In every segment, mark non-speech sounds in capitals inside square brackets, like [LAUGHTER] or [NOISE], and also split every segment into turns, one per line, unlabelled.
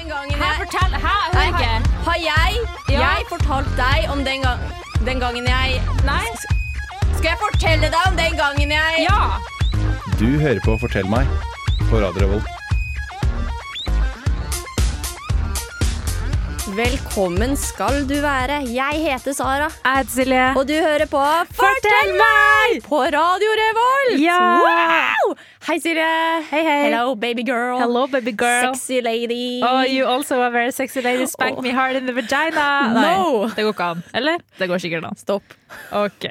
gangen
Hæ,
jeg
fortell! Hæ, jeg hører
Nei,
ikke.
Har jeg,
Ja.
jeg fortalt deg om den, gang, den gangen jeg
Nei?
Skal jeg fortelle deg om den gangen jeg
Ja!
Du hører på Fortell meg på Radio Revolt.
Velkommen skal du være. Jeg heter Sara,
Jeg heter Silje.
og du hører på
Fortell meg!
på Radio Revolt!
Ja.
Wow! Hei, Silje.
Hei, hei.
Hello, baby girl.
Hello, baby girl.
Sexy lady.
Oh, you also a very sexy lady. Spank
Åh.
me hard in the vagina.
No.
det går ikke an. Eller? Det går sikkert an.
Stopp.
Ok.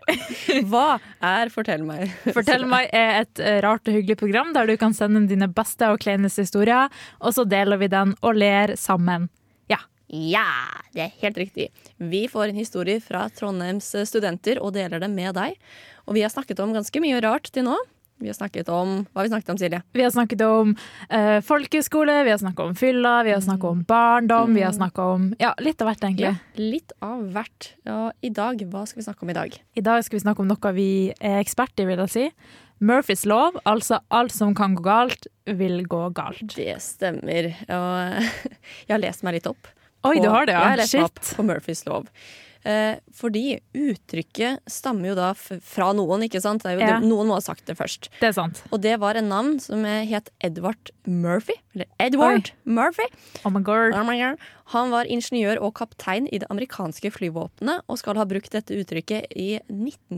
Hva er Fortell meg?
Fortell meg er et eh, rart og hyggelig program der du kan sende inn dine beste og kleineste historier, og så deler vi den og ler sammen. Ja.
Ja, det er helt riktig. Vi får en historie fra Trondheims eh, studenter og deler dem med deg. Og vi har snakket om ganske mye rart til nå. Vi har snakket om Hva har vi snakket om, Silje?
Vi har snakket om eh, folkeskole, vi har snakket om fylla, vi har snakket om barndom, vi har snakket om Mm. ja, litt av hvert, egentlig.
Litt av hvert. Og i dag, hva skal vi snakke om i dag?
I dag skal vi snakke om noe vi er eksperter i, vil jeg si. Murphys lov, altså alt som kan gå galt, vil gå galt.
Det stemmer. Og [LAUGHS] jeg har lest meg litt opp.
Oi,
på-
du har det,
Jeg har
ja?
lest meg opp
Shit.
på Murphys lov. Eh, fordi uttrykket stammer jo da f fra noen, ikke sant? Det er jo,
Ja.
Noen må ha sagt det først.
Det er sant.
Og det var en navn som eh, het Edvard Murphy. Eller Edward Murphy.
Oh my god.
Oh my God. Han var ingeniør og kaptein i det amerikanske flyvåpenet og skal ha brukt dette uttrykket i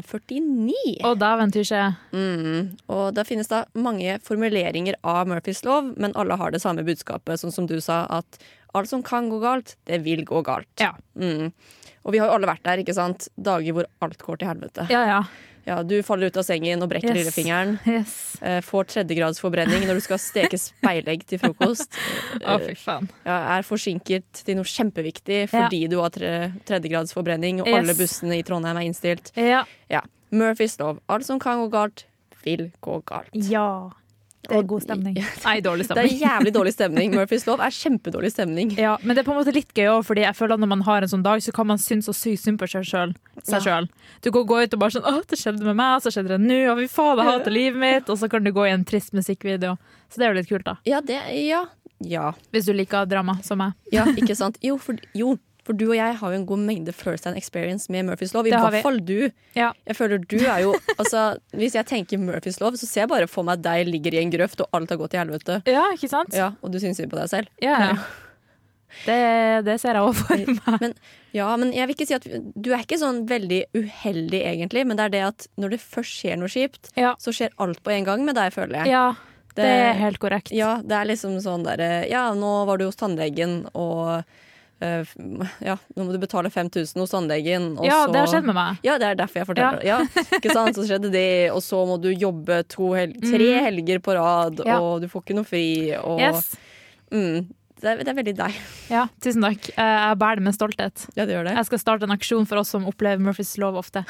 1949.
Og da venter ikke
Mm. Og det finnes da mange formuleringer av Murphys lov, men alle har det samme budskapet, sånn som du sa, at alt som kan gå galt, det vil gå galt.
Ja.
Mm. Og vi har jo alle vært der, ikke sant? Dager hvor alt går til helvete.
Ja, ja.
Ja, du faller ut av sengen og brekker
Yes.
lillefingeren.
Yes.
eh, Får tredjegradsforbrenning når du skal steke speilegg til frokost.
Å, fy faen.
ja, er forsinket til noe kjempeviktig fordi du har tre, tredjegrads forbrenning, og
Yes.
alle bussene i Trondheim er innstilt.
Ja.
Ja. Murphys lov. Alt som kan gå galt, vil gå galt.
ja. Det er god stemning. Nei, dårlig
Det er
stemning.
jævlig dårlig stemning. Murphys lov er kjempedårlig stemning.
Ja, men det er på en måte litt gøy òg, fordi jeg føler at når man har en sånn dag, så kan man synes så sykt synd på seg sjøl. Seg selv. Du kan gå ut og bare sånn 'Å, det skjedde med meg, så skjedde det nå', og fy faen, jeg hater livet mitt', og så kan du gå i en trist musikkvideo. Så det er jo litt kult, da.
Ja, det Ja. Ja,
Hvis du liker drama som meg.
ja ikke sant? Jo for, jo, for du og jeg har jo en god mengde first hand experience med Murphys lov. I
Det har
hvert
vi.
fall du.
Ja.
Jeg føler du er
[LAUGHS]
jo Altså, hvis jeg tenker Murphys lov, så ser jeg bare for meg at deg ligger i en grøft, og alt har gått til helvete.
Ja, ikke sant?
Ja, og du syns synd på deg selv.
Ja, ja. Det, det ser jeg òg for meg.
Men, ja, men jeg vil ikke si at Du er ikke sånn veldig uheldig, egentlig, men det er det at når det først skjer noe kjipt,
Ja.
så skjer alt på en gang med deg, føler jeg.
ja, det er
det,
helt korrekt.
ja, det er liksom sånn derre Ja, nå var du hos tannlegen, og eh, f- Ja, nå må du betale 5000 hos tannlegen, og
Ja,
så
det har skjedd med meg.
ja, det er derfor jeg forteller det. Ja. ikke sant? Så skjedde det, og så må du jobbe to hel tre helger på rad,
Mm. Ja.
og du får ikke noe fri, og
Yes.
mm, det, er, det er veldig deg.
Ja, tusen takk. Eh, Jeg bærer det med stolthet.
Ja, det gjør det.
Jeg skal starte en aksjon for oss som opplever Murphys lov ofte.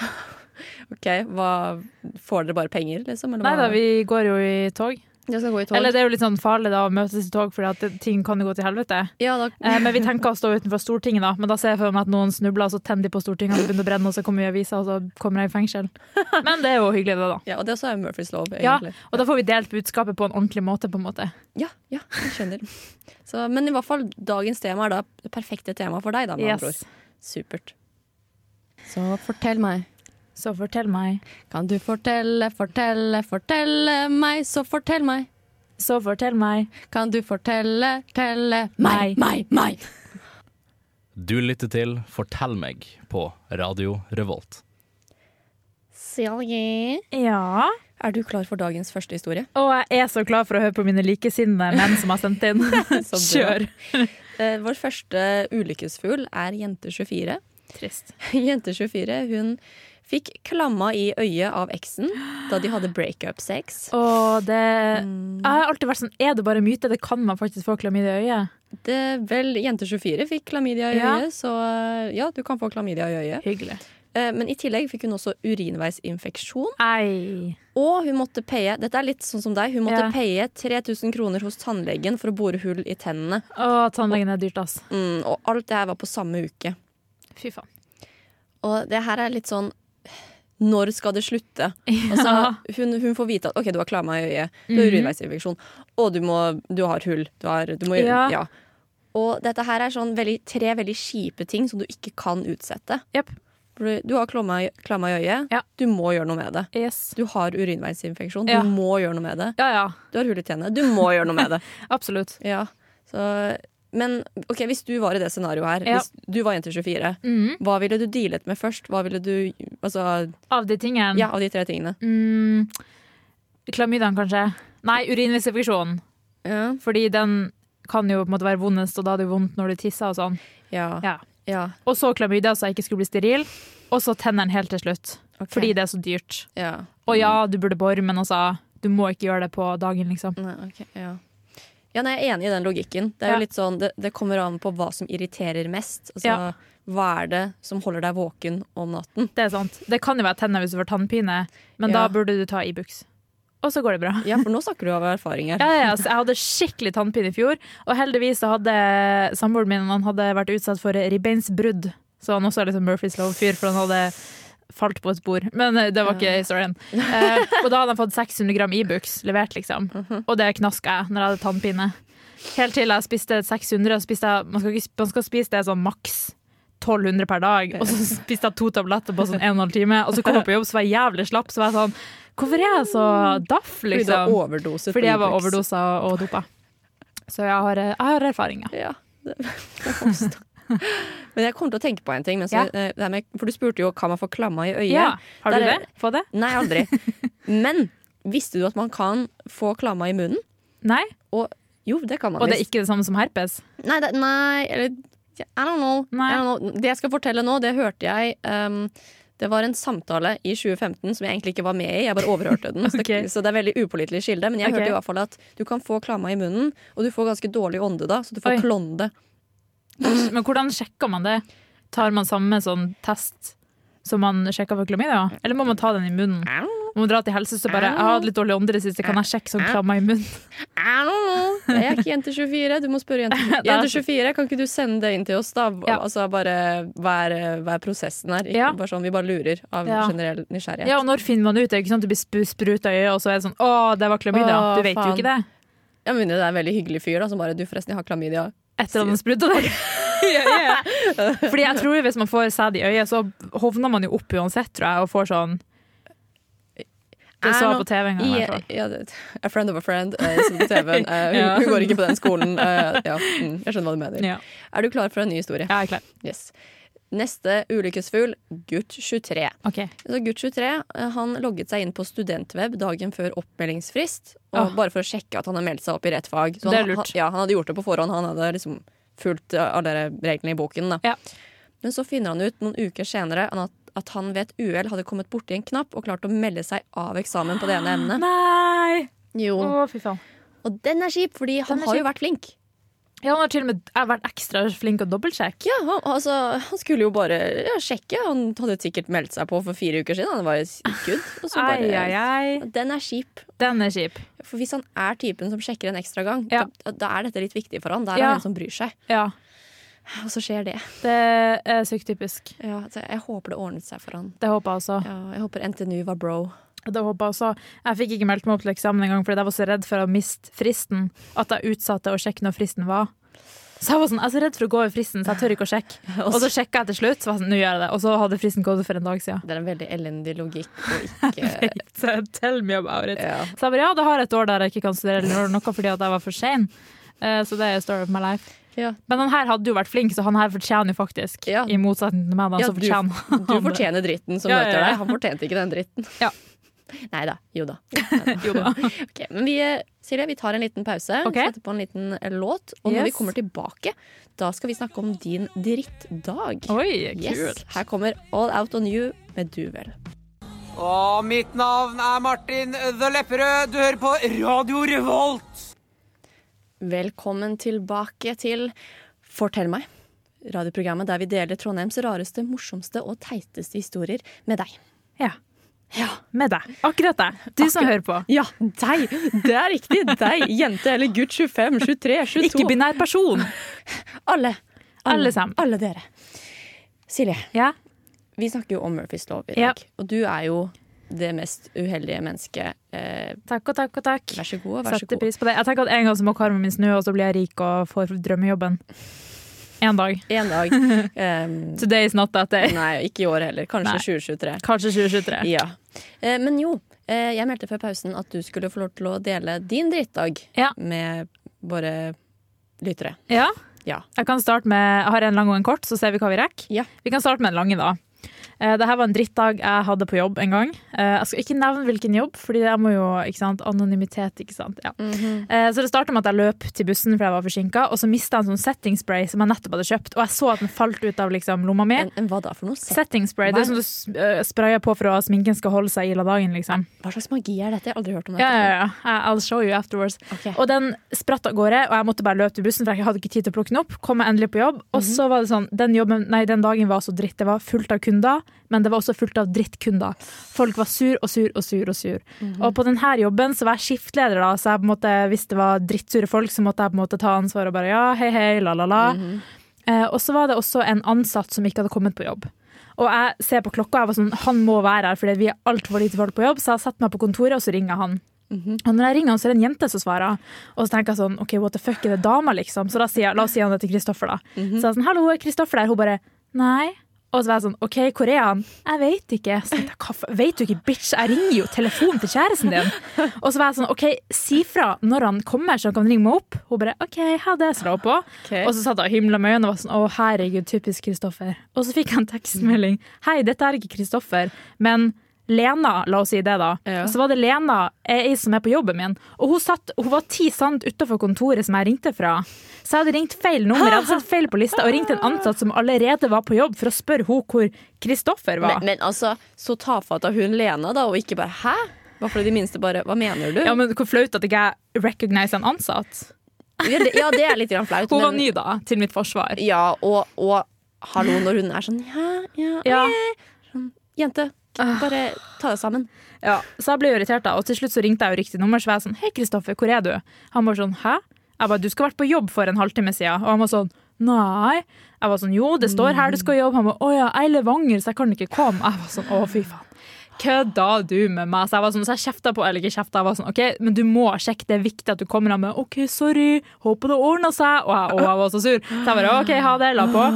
Ok, hva, Får dere bare penger, liksom? Eller
Nei da,
hva?
vi går jo i tog.
Jeg skal gå i tog.
Eller det er jo litt sånn farlig da å møtes i tog, fordi at ting kan jo gå til helvete.
ja, da,
Eh, Men vi tenker å stå utenfor Stortinget, da. Men da ser jeg for meg at noen snubler, og så tenner de på Stortinget, og så begynner det å brenne, og så kommer vi i avisa, og så kommer jeg i fengsel.
[LAUGHS]
Men det er jo hyggelig, det, da.
ja, og det også er Murphys lov,
Ja,
egentlig.
og da får vi delt budskapet på en ordentlig måte, på en måte.
Ja, ja, jeg [LAUGHS] skjønner. Så, men i hvert fall, dagens tema er da det perfekte temaet for deg, da, med andre
Yes.
ord. Supert.
Så fortell meg.
Så fortell meg.
Kan du fortelle, fortelle, fortelle meg, så fortell meg.
Så fortell meg.
Kan du fortelle, telle meg, meg, meg.
Du lytter til Fortell meg på Radio Revolt.
Ja.
Er du klar for dagens første [LAUGHS] historie?
Og jeg er så klar for å høre på mine likesinnede menn som har sendt [LAUGHS] inn.
Så bra.
Kjør.
Eh, vår første ulykkesfugl er jente 24.
Trist.
[LAUGHS] Jente 24 hun fikk klamma i øyet av eksen da de hadde Mm. breakup-sex.
Og det
eh,
Jeg har alltid vært sånn Er det bare myte? Det kan man faktisk få klamydia i øyet.
Det- Vel, jente 24 fikk klamydia i
Ja.
øyet, så eh, ja, du kan få klamydia i øyet.
Hyggelig.
Eh, Men i tillegg fikk hun også urinveisinfeksjon.
Ei.
Og hun måtte paye Dette er litt sånn som deg. Hun måtte
Ja.
paye 3000 kroner hos tannlegen for å bore hull i tennene.
Å, tannlegen er dyrt, ass.
Mm, og alt det her var på samme uke.
Fy faen.
Og det her er litt sånn Når skal det slutte? Altså, hun, hun får vite at OK, du har
Mhm.
klamma i øyet, du har urinveisinfeksjon, og du, må, du har hull. Du, har, du må
Ja.
ja. Og dette her er sånn veldig, tre veldig kjipe ting som du ikke kan utsette.
Jepp.
For Du, du har klamma i klamma i øyet.
Ja.
Du må gjøre noe med det.
Yes.
Du har urinveisinfeksjon.
Ja.
Du må gjøre noe med det.
Ja, ja.
Du har hull i tennene. Du må gjøre noe med det.
[LAUGHS] Absolutt.
Ja, så, men ok, hvis du var i det scenarioet her,
Ja.
hvis du var jente 24,
Mm.
hva ville du dealet med først? Hva ville du, altså,
Av de tingene
ja, av de tre tingene?
mm, Klamydiaen, kanskje. Nei, urinvisifikasjon.
Ja,
Fordi den kan jo på en måte være vondest, og da er det jo vondt når du tisser og sånn.
ja,
Ja.
ja,
Og så klamydia, så jeg ikke skulle bli steril. Og så tennene helt til slutt.
ok.
Fordi det er så dyrt.
Ja,
Og ja, du burde bore, men altså, du må ikke gjøre det på dagen, liksom.
nei, ok, ja. Ja, nei, jeg er enig i den logikken. Det er
Ja.
jo litt sånn, det, det kommer an på hva som irriterer mest. Altså,
Ja.
hva er det som holder deg våken om natten?
Det er sant. Det kan jo være tenner hvis du får tannpine, men da
Ja.
burde du ta Ibux. Og så går det bra.
Ja, for nå snakker du av erfaring her.
Ja, ja, altså, jeg hadde skikkelig tannpine i fjor, og heldigvis så hadde samboeren min han hadde vært utsatt for ribbeinsbrudd. Så han også er liksom Murphys lov-fyr, for han hadde falt på et bord. Men eh, det var ikke historien. Eh, og da hadde han fått 600 gram Ibux levert, liksom. Og det knaska jeg når jeg hadde tannpine. Helt til jeg spiste 600, og spiste jeg, man, skal ikke, man skal spise det sånn maks 1200 per dag. Og så spiste jeg to tabletter på sånn en og en halv time, og så kom jeg på jobb, så var jeg jævlig slapp, så var jeg sånn Hvorfor er jeg så daff,
Fordi du
liksom?
har overdoset
Fordi
på
jeg var
Ibux.
overdosa og dopa. Så jeg har, eh, jeg har erfaring, ja.
Ja, det, det forstår. [LAUGHS] Men jeg kom til å tenke på en ting. Mens
Ja.
jeg, eh, det her med, for du spurte jo kan man få klamma i øyet.
ja. Har du
Der er-
det? Få det?
Nei,
[LAUGHS]
aldri. Men visste du at man kan få klamma i munnen?
Nei?
Jo, det kan man
Og det er
visst.
ikke det samme som herpes?
Nei, det, nei, eller I don't, know.
Nei.
I don't know. Det jeg skal fortelle nå, det hørte jeg um, Det var en samtale i 2015 som jeg egentlig ikke var med i. Jeg bare overhørte
[LAUGHS]
den. Så det-
Ok.
Så det er veldig upålitelig kilde. Men jeg
Ok.
hørte i hvert fall at du kan få klamma i munnen, og du får ganske dårlig ånde da, så du
Oi.
får klonde.
Men hvordan sjekker man det? Tar man samme sånn test som man sjekker for klamydia? Eller må man ta den i munnen?
I don't know.
Må man dra til helse så bare Jeg har hatt litt dårlig ånde i det siste, kan jeg sjekke sånn klamma i munnen?
I don't know. Jeg er ikke jente 24. Du må spørre jente
[LAUGHS]
24. Jente 24, kan ikke du sende det inn til oss, da?
Ja.
Altså bare hva er, hva er prosessen her? Ikke
Ja.
bare sånn, vi bare lurer av
Ja.
generell nysgjerrighet.
Ja, og når finner man det ut? Det er jo ikke sånn at du blir sp- spruta i øyet, og så er det sånn Å, det var klamydia.
Å,
Du vet jo
faen.
ikke det.
Jeg mener det er en veldig hyggelig fyr da, som bare Du, forresten, jeg har klamydia.
Etter at han spruta deg. [LAUGHS] ja, ja. [LAUGHS] Fordi jeg tror hvis man får sæd i øyet, så hovner man jo opp uansett, tror jeg, og får sånn Det sa jeg på TV en gang. i hvert
Ja,
fall.
ja, det- a friend of a friend, eh, som på
[LAUGHS]
TV-en. Eh, hun,
Ja.
hun går ikke på den skolen. Eh, ja, mm, jeg skjønner hva du mener.
Ja.
Er du klar for en ny historie?
Jeg er klar.
Yes. Neste ulykkesfugl, gutt 23.
Ok.
Så gutt 23 eh, han logget seg inn på studentweb dagen før oppmeldingsfrast. Og
Ah.
Bare for å sjekke at han hadde meldt seg opp i rett fag. Så
Det er
han,
lurt.
Han, ja, han hadde gjort det på forhånd. Han hadde liksom fulgt eh, alle reglene i boken. Da.
Ja.
Men så finner han ut noen uker senere at, at han ved et uhell hadde kommet borti en knapp og klart å melde seg av eksamen på det ene emnet.
Ah, Nei!
Jo.
Å, fy faen.
Og den er kjip, fordi han
Den er
har
kjip.
jo vært flink.
Ja, han har til og med jeg har vært ekstra flink å dobbeltsjekke.
Ja, han, altså, han skulle jo bare ja, sjekke. Han hadde sikkert meldt seg på for fire uker siden. Han var jo s- good. Og så
Ai,
bare,
ai, ai.
Den er kjip.
Den er kjip.
For hvis han er typen som sjekker en ekstra gang,
Ja.
da, da er dette litt viktig for han. Da er
Ja.
han en som bryr seg.
Ja.
Og så skjer det.
Det er sykt typisk.
Ja, altså, jeg håper det ordnet seg for han.
Det håper jeg også.
Ja, jeg håper NTNU var bro.
Det håper jeg også. Jeg fikk ikke meldt meg opp til eksamen engang fordi jeg var så redd for å miste fristen. At jeg utsatte å sjekke når fristen var. Så jeg var sånn, jeg er så redd for å gå over fristen, så jeg tør ikke å sjekke.
[LAUGHS]
Og så sjekka jeg til slutt, så var jeg sånn, nå gjør jeg det. Og så hadde fristen gått ut for en dag siden.
Det er en veldig elendig logikk å [LAUGHS] ikke
Så tell me about it.
ja.
Så jeg bare, ja, da har jeg et år der jeg ikke kan studere eller gjøre noe fordi at jeg var for sein. Eh, Så det er story of my life.
Ja.
Men han her hadde jo vært flink, så han her fortjener jo faktisk,
Ja.
i motsetning til meg, da,
Ja,
så
du-
fortjener
[LAUGHS]
han
Du fortjener dritten som
Ja, ja,
møter
ja.
deg. Han fortjente ikke den dritten.
[LAUGHS] Ja.
Nei da. Jo
[LAUGHS]
da.
det. Jo da.
Ok, men vi, eh, Silje, vi tar en liten pause,
Ok.
setter på en liten eh, låt. Og når
Yes.
vi kommer tilbake, da skal vi snakke om din drittdag.
Oi, kult.
Yes. Her kommer All Out On You med Duvel.
Og mitt navn er Martin The Lepperød. Du hører på Radio Revolt.
Velkommen tilbake til Fortell meg. Radioprogrammet der vi deler Trondheims rareste, morsomste og teiteste historier med deg.
Ja.
Ja.
Med deg. Akkurat deg. Du som hører på.
Ja, deg! Det er riktig. Deg, jente eller gutt 25, 23, 22.
Ikke-binær person.
alle.
Alle sammen.
Alle dere. Silje,
Ja.
vi snakker jo om Murphys lov i
Ja.
dag. Og du er jo det mest uheldige mennesket. Eh,
Takk og takk og takk.
vær så god, vær så
Setter
god.
pris på det. Jeg tenker at en gang så må karmen min snu, og så blir jeg rik og får drømmejobben. En dag.
En dag.
[LAUGHS]
Ehm,
Today is not that day.
nei, ikke i år heller.
Nei.
Kanskje 2023.
Kanskje 2023.
Ja. Eh, men jo, eh, jeg meldte før pausen at du skulle få lov til å dele din drittdag
Ja.
med våre lyttere.
Ja.
Ja.
Jeg kan starte med, jeg har en lang og en kort, så ser vi hva vi rekker.
Ja.
Vi kan starte med den lange, da. Eh, Dette var en drittdag jeg hadde på jobb en gang. Eh, Jeg skal ikke nevne hvilken jobb, Fordi jeg må jo ikke sant, Anonymitet, ikke sant. Ja.
Mhm.
Eh, Så det starta med at jeg løp til bussen fordi jeg var forsinka, og så mista jeg en sånn setting spray som jeg nettopp hadde kjøpt, og jeg så at den falt ut av liksom, lomma mi.
En, en hva da for noe? Se,
Setting spray, det er som du s- eh, sprayer på for at sminken skal holde seg i la dagen, liksom.
hva slags magi er dette? Jeg har aldri hørt om dette.
Ja, ja, ja. I- I'll show you afterwards.
Ok.
Og den spratt av gårde, og jeg måtte bare løpe til bussen, for jeg hadde ikke tid til å plukke den opp. Kom jeg endelig på jobb, og så var det sånn den, jobben, nei, den dagen var så dritt. Det var fullt av kunder, men det var også fullt av drittkunder. Folk var sur og sur og sur og sur. Og på denne jobben så var jeg skiftleder, da, så jeg på en måte, hvis det var drittsure folk, så måtte jeg på en måte ta ansvar og bare ja, hei, hei, la, la, la. Eh, og så var det også en ansatt som ikke hadde kommet på jobb. Og jeg ser på klokka, og jeg var sånn, han må være her, fordi vi er altfor lite folk på jobb, så jeg setter meg på kontoret, og så ringer jeg han. Mhm. Og når jeg ringer han, så er det en jente som svarer. Og så tenker jeg sånn, ok, what the fuck, er det dama liksom? Så da sier jeg, la oss si han det til Kristoffer da.
Mhm.
Så jeg er sånn, hallo, er Kristoffer der? Hun bare, nei. Og så var jeg sånn, ok, hvor er han? Jeg vet ikke. Så tenkte jeg, hva fa- vet du ikke, bitch, jeg ringer jo telefonen til kjæresten din. Og så var jeg sånn, ok, si fra når han kommer, så han kan ringe meg opp. Hun bare, ok, ha det, så la hun på.
Ok.
Og så satt jeg og himla med øynene og var sånn, å herregud, typisk Kristoffer. Og så fikk jeg en tekstmelding, hei, dette er ikke Kristoffer, men Lena, la oss si det da.
Ja.
Og så var det Lena, ei som er på jobben min. Og hun, satt, hun var ti sant utenfor kontoret som jeg ringte fra. Så jeg hadde ringt feil nummer, jeg hadde sett feil på lista, og ringt en ansatt som allerede var på jobb for å spørre hun hvor Kristoffer var.
Men, men altså, så tafatt av hun Lena, da, og ikke bare 'hæ?' Hva for det minste bare 'hva mener du?'
ja, men hvor flaut at ikke jeg recognize en ansatt.
Ja, det, ja, det er litt grann flaut.
Hun var
men-
ny da, til mitt forsvar.
Ja, og, og hallo, når hun er sånn 'ja, ja, Ah.
Ja.
eh», sånn, Jente, bare ta deg sammen.
Ja, så jeg ble jo irritert da, og til slutt så ringte jeg jo riktig nummer, så var jeg sånn, hei Kristoffer, hvor er du? Han var sånn, hæ? Jeg bare, du skal ha vært på jobb for en halvtime siden, og han var sånn, nei. Jeg var sånn, jo, det står her du skal jobbe. Han var, åja, jeg er i Levanger, så jeg kan ikke komme. Jeg var sånn, å fy faen. Kødda du med meg? Så jeg var sånn, så jeg kjefta på, eller ikke kjefta, jeg var sånn, ok, men du må sjekke, det er viktig at du kommer her med, ok, sorry, håper det ordner seg. Og jeg, og jeg var så sur. Så jeg bare, ok, ha det, la på.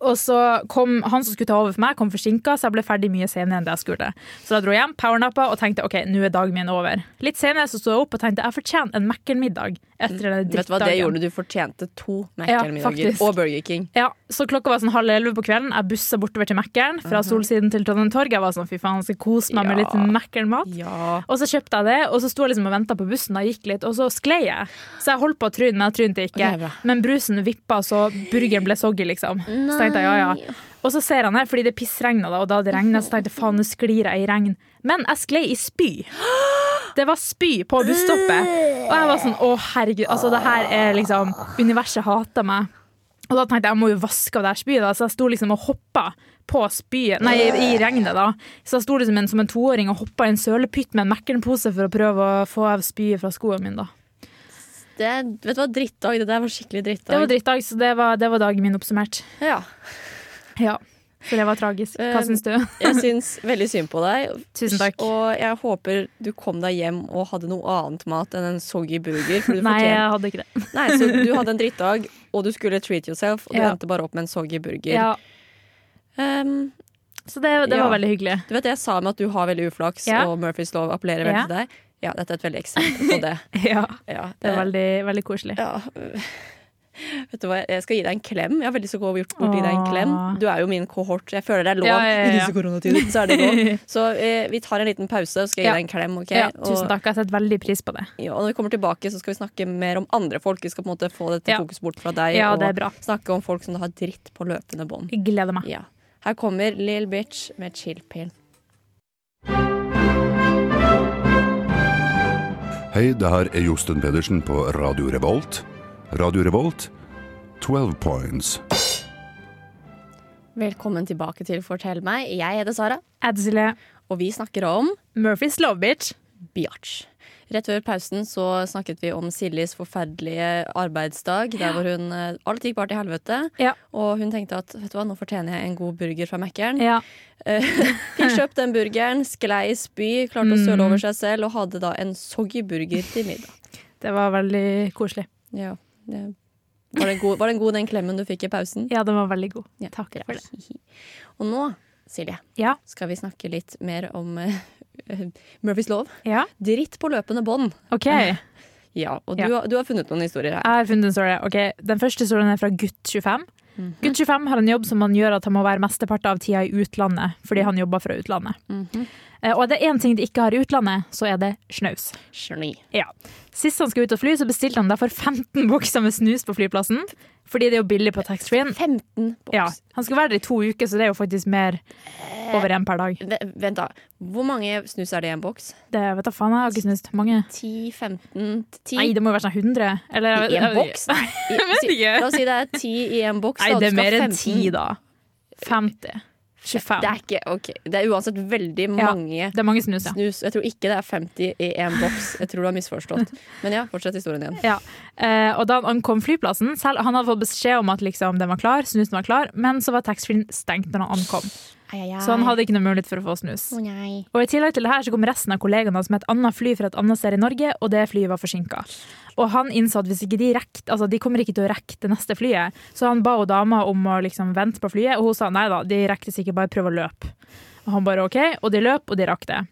Og så kom han som skulle ta over for meg, kom forsinka, så jeg ble ferdig mye senere enn det jeg skulle. Så da dro jeg hjem, powernappa og tenkte ok, nå er dagen min over. Litt senere så sto jeg opp og tenkte jeg fortjener en Mækkern-middag etter den
Vet du hva, det
drittdagen.
gjorde du. Du fortjente to
Ja,
Mac-middager
faktisk.
og Burger King.
Ja, så klokka var sånn halv elleve på kvelden. Jeg bussa bortover til Mækkern fra Solsiden til Trondheim Torg. Jeg var sånn fy faen, jeg skal kose meg med
Mhm. Ja.
litt Mækkern-mat.
Ja.
Og så kjøpte jeg det, og så sto jeg liksom og venta på bussen, og jeg gikk litt, og så sklei jeg. Så jeg holdt på å tryne, men jeg trynte ikke.
Ok, bra.
men brusen vippa, så burgeren ble soggy, liksom. Så tenkte jeg ja, ja. Og så ser han her, fordi det pissregna, da, og da det regna, så tenkte jeg faen, nå sklir jeg i regn. Men jeg sklei i spy. Det var spy på busstoppet. Og jeg var sånn å herregud, altså det her er liksom Universet hater meg. Og da tenkte jeg jeg må jo vaske av det her spyet, da. så jeg sto liksom og hoppa på spyet, nei, i regnet. da. Så jeg sto liksom en, som en toåring og hoppa i en sølepytt med en Mækkern-pose for å prøve å få av spyet fra skoene mine. da.
Det, vet du hva, drittdag. Det der var skikkelig drittdag.
Det var drittdag, så det var, det var dagen min oppsummert.
Ja.
Ja, Så det var tragisk. Hva
Eh,
syns du?
[LAUGHS] Jeg syns veldig synd på deg.
[LAUGHS] Tusen takk.
Og jeg håper du kom deg hjem og hadde noe annet mat enn en soggy burger. For du
Nei,
fortjente-
jeg hadde ikke det.
Nei, så du hadde en drittdag, og du skulle treat yourself, og du
Ja.
endte bare opp med en soggy burger.
Ja,
Ehm,
så det, det var
Ja.
veldig hyggelig.
du vet det jeg sa med at du har veldig uflaks,
Ja.
og Murphys lov appellerer veldig
Ja.
til deg? Ja, dette er et veldig eksempel på det.
[LAUGHS] Ja,
Ja, eh,
Det var veldig, veldig koselig.
ja. øh, Vet du hva, jeg skal gi deg en klem. Jeg har veldig så god gjort bort å gi deg en klem.
Åh.
Du er jo min kohort. Jeg føler det er lov.
Ja, ja, ja, ja.
[LAUGHS] I disse koronatider så er
[LAUGHS]
det lov. Så eh, vi tar en liten pause, så skal jeg
Ja.
gi deg en klem. ok?
Ja, tusen
Og-
takk, jeg setter veldig pris på det.
Ja, og når vi kommer tilbake, så skal vi snakke mer om andre folk. Vi skal på en måte få dette
Ja.
fokuset bort fra deg,
Ja,
og
det er bra.
snakke om folk som har dritt på løpende bånd.
Jeg gleder meg.
Ja. Her kommer Lill Bitch med Chill Pill.
Hei, det her er Josten Pedersen på Radio Revolt. Radio Revolt, 12 points.
Velkommen tilbake til Fortell meg. Jeg heter Sara,
Edsile
og vi snakker om
Murphys love, bitch.
biatch. Rett før pausen så snakket vi om Siljes forferdelige arbeidsdag, der hvor hun eh, Alt gikk bare til helvete.
Ja.
Og hun tenkte at vet du hva, nå fortjener jeg en god burger fra Mækkern.
Ja.
Fikk kjøpt den burgeren, sklei i spy, klarte å søle over seg selv og hadde da en soggy burger til middag.
Det var veldig koselig.
Ja, det, var, den god, var den god den klemmen du fikk i pausen?
Ja, den var veldig god.
Ja,
Takk
bra.
for det.
Hihi. Og nå, Silje,
Ja.
skal vi snakke litt mer om eh, eh, [LAUGHS] Murphys lov.
ja.
Dritt på løpende bånd.
OK, jeg
Ja, og du,
Ja.
har- du har funnet noen historier her.
har funnet en story. Ok, Den første storyen er fra gutt 25.
Mhm.
Gutt 25 har en jobb som han gjør at han må være mesteparten av tida i utlandet, fordi han jobber fra utlandet.
Mhm.
Eh, Og er det én ting de ikke har i utlandet, så er det snaus.
Geni.
Ja. Sist han skulle ut og fly, så bestilte han derfor 15 bokser med snus på flyplassen, fordi det er jo billig på taxfree-en.
15 boks.
Ja, han skal være der i to uker, så det er jo faktisk mer over én per dag.
Ve- Vent, da. Hvor mange snus er det i en boks?
Det vet da faen, jeg har ikke snust mange.
10, 15, 10
Nei, det må jo være sånn 100. Eller, jeg vet-
i en
jeg vet ikke.
boks?
[LAUGHS]
I-
vet
si-
ikke.
La oss si det er 10 i en boks.
Nei,
da,
det
du skal
er mer
ha
enn
15.
10, da. 50. 25.
Det er ikke OK. Det er uansett veldig
Ja.
mange
Det er mange snus, ja.
snus. Jeg tror ikke det er 50 i én boks. Jeg tror du har misforstått. Men ja, fortsett historien igjen.
ja. Eh, og da han ankom flyplassen, selv, han hadde fått beskjed om at liksom, den var klar, snusen var klar, men så var taxfree-en stengt når han ankom. Så han Sånn hadde ikke noe mulighet for å få snus. Og i tillegg til det her så kom resten av kollegaene hans med et annet fly fra et annet sted i Norge, og det flyet var forsinka. Og han innså at hvis ikke de rekt, altså de kommer ikke til å rekke det neste flyet, så han ba jo dama om å liksom vente på flyet, og hun sa nei da, de rekker sikkert bare prøve å løpe. Og han bare OK, og de løp, og de rakk det.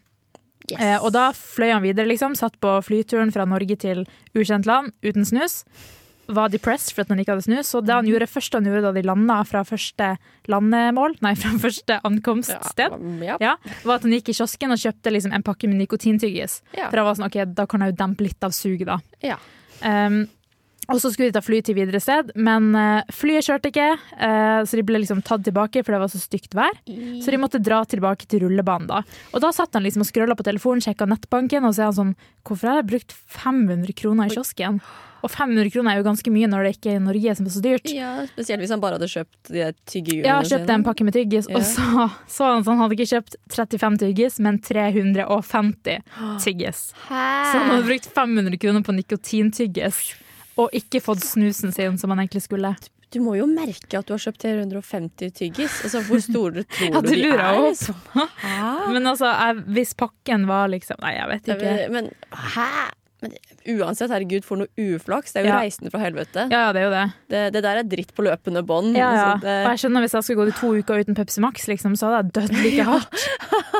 Yes.
Eh, og da fløy han videre, liksom. Satt på flyturen fra Norge til ukjent land uten snus. Var depressed for at han ikke hadde snus. Så det
Mhm.
han gjorde første han gjorde da de landa fra første landemål, nei, fra første ankomststed,
Ja.
ja, var at han gikk i kiosken og kjøpte liksom en pakke med nikotintyggis.
Ja.
For han var sånn OK, da kan jeg jo dempe litt av suget, da.
Ja.
Ehm, og så skulle de ta fly til videre sted, men eh, flyet kjørte ikke, eh, så de ble liksom tatt tilbake, for det var så stygt vær. Så de måtte dra tilbake til rullebanen. da. Og da satt han liksom og scrolla på telefonen, sjekka nettbanken, og så er han sånn Hvorfor har jeg brukt 500 kroner i kiosken? Og 500 kroner er jo ganske mye når det ikke er i Norge som er så dyrt.
ja, Spesielt hvis han bare hadde kjøpt eh, de der tyggegummiene
Ja, kjøpte en pakke med tyggis,
Ja.
og så så han sånn, han hadde ikke kjøpt 35 tyggis, men 350 tyggis. Så han hadde brukt 500 kroner på nikotintyggis, og ikke fått snusen sin som han egentlig skulle.
Du må jo merke at du har kjøpt 350 tyggis. Altså, Hvor
[LAUGHS]
store tror
Ja,
du
det
de
lurer
er?
jeg også på. [LAUGHS]
liksom?
Men altså, jeg, hvis pakken var liksom, nei, jeg vet ikke.
Men, men hæ? Men uansett, herregud, for noe uflaks. Det er jo
Ja.
reisende fra helvete.
Ja, ja, det er jo det.
Det, det der er dritt på løpende bånd.
Ja, ja.
altså,
Og jeg skjønner hvis jeg skulle gått i to uker uten Pepsi Max, liksom, så hadde jeg dødd like hardt.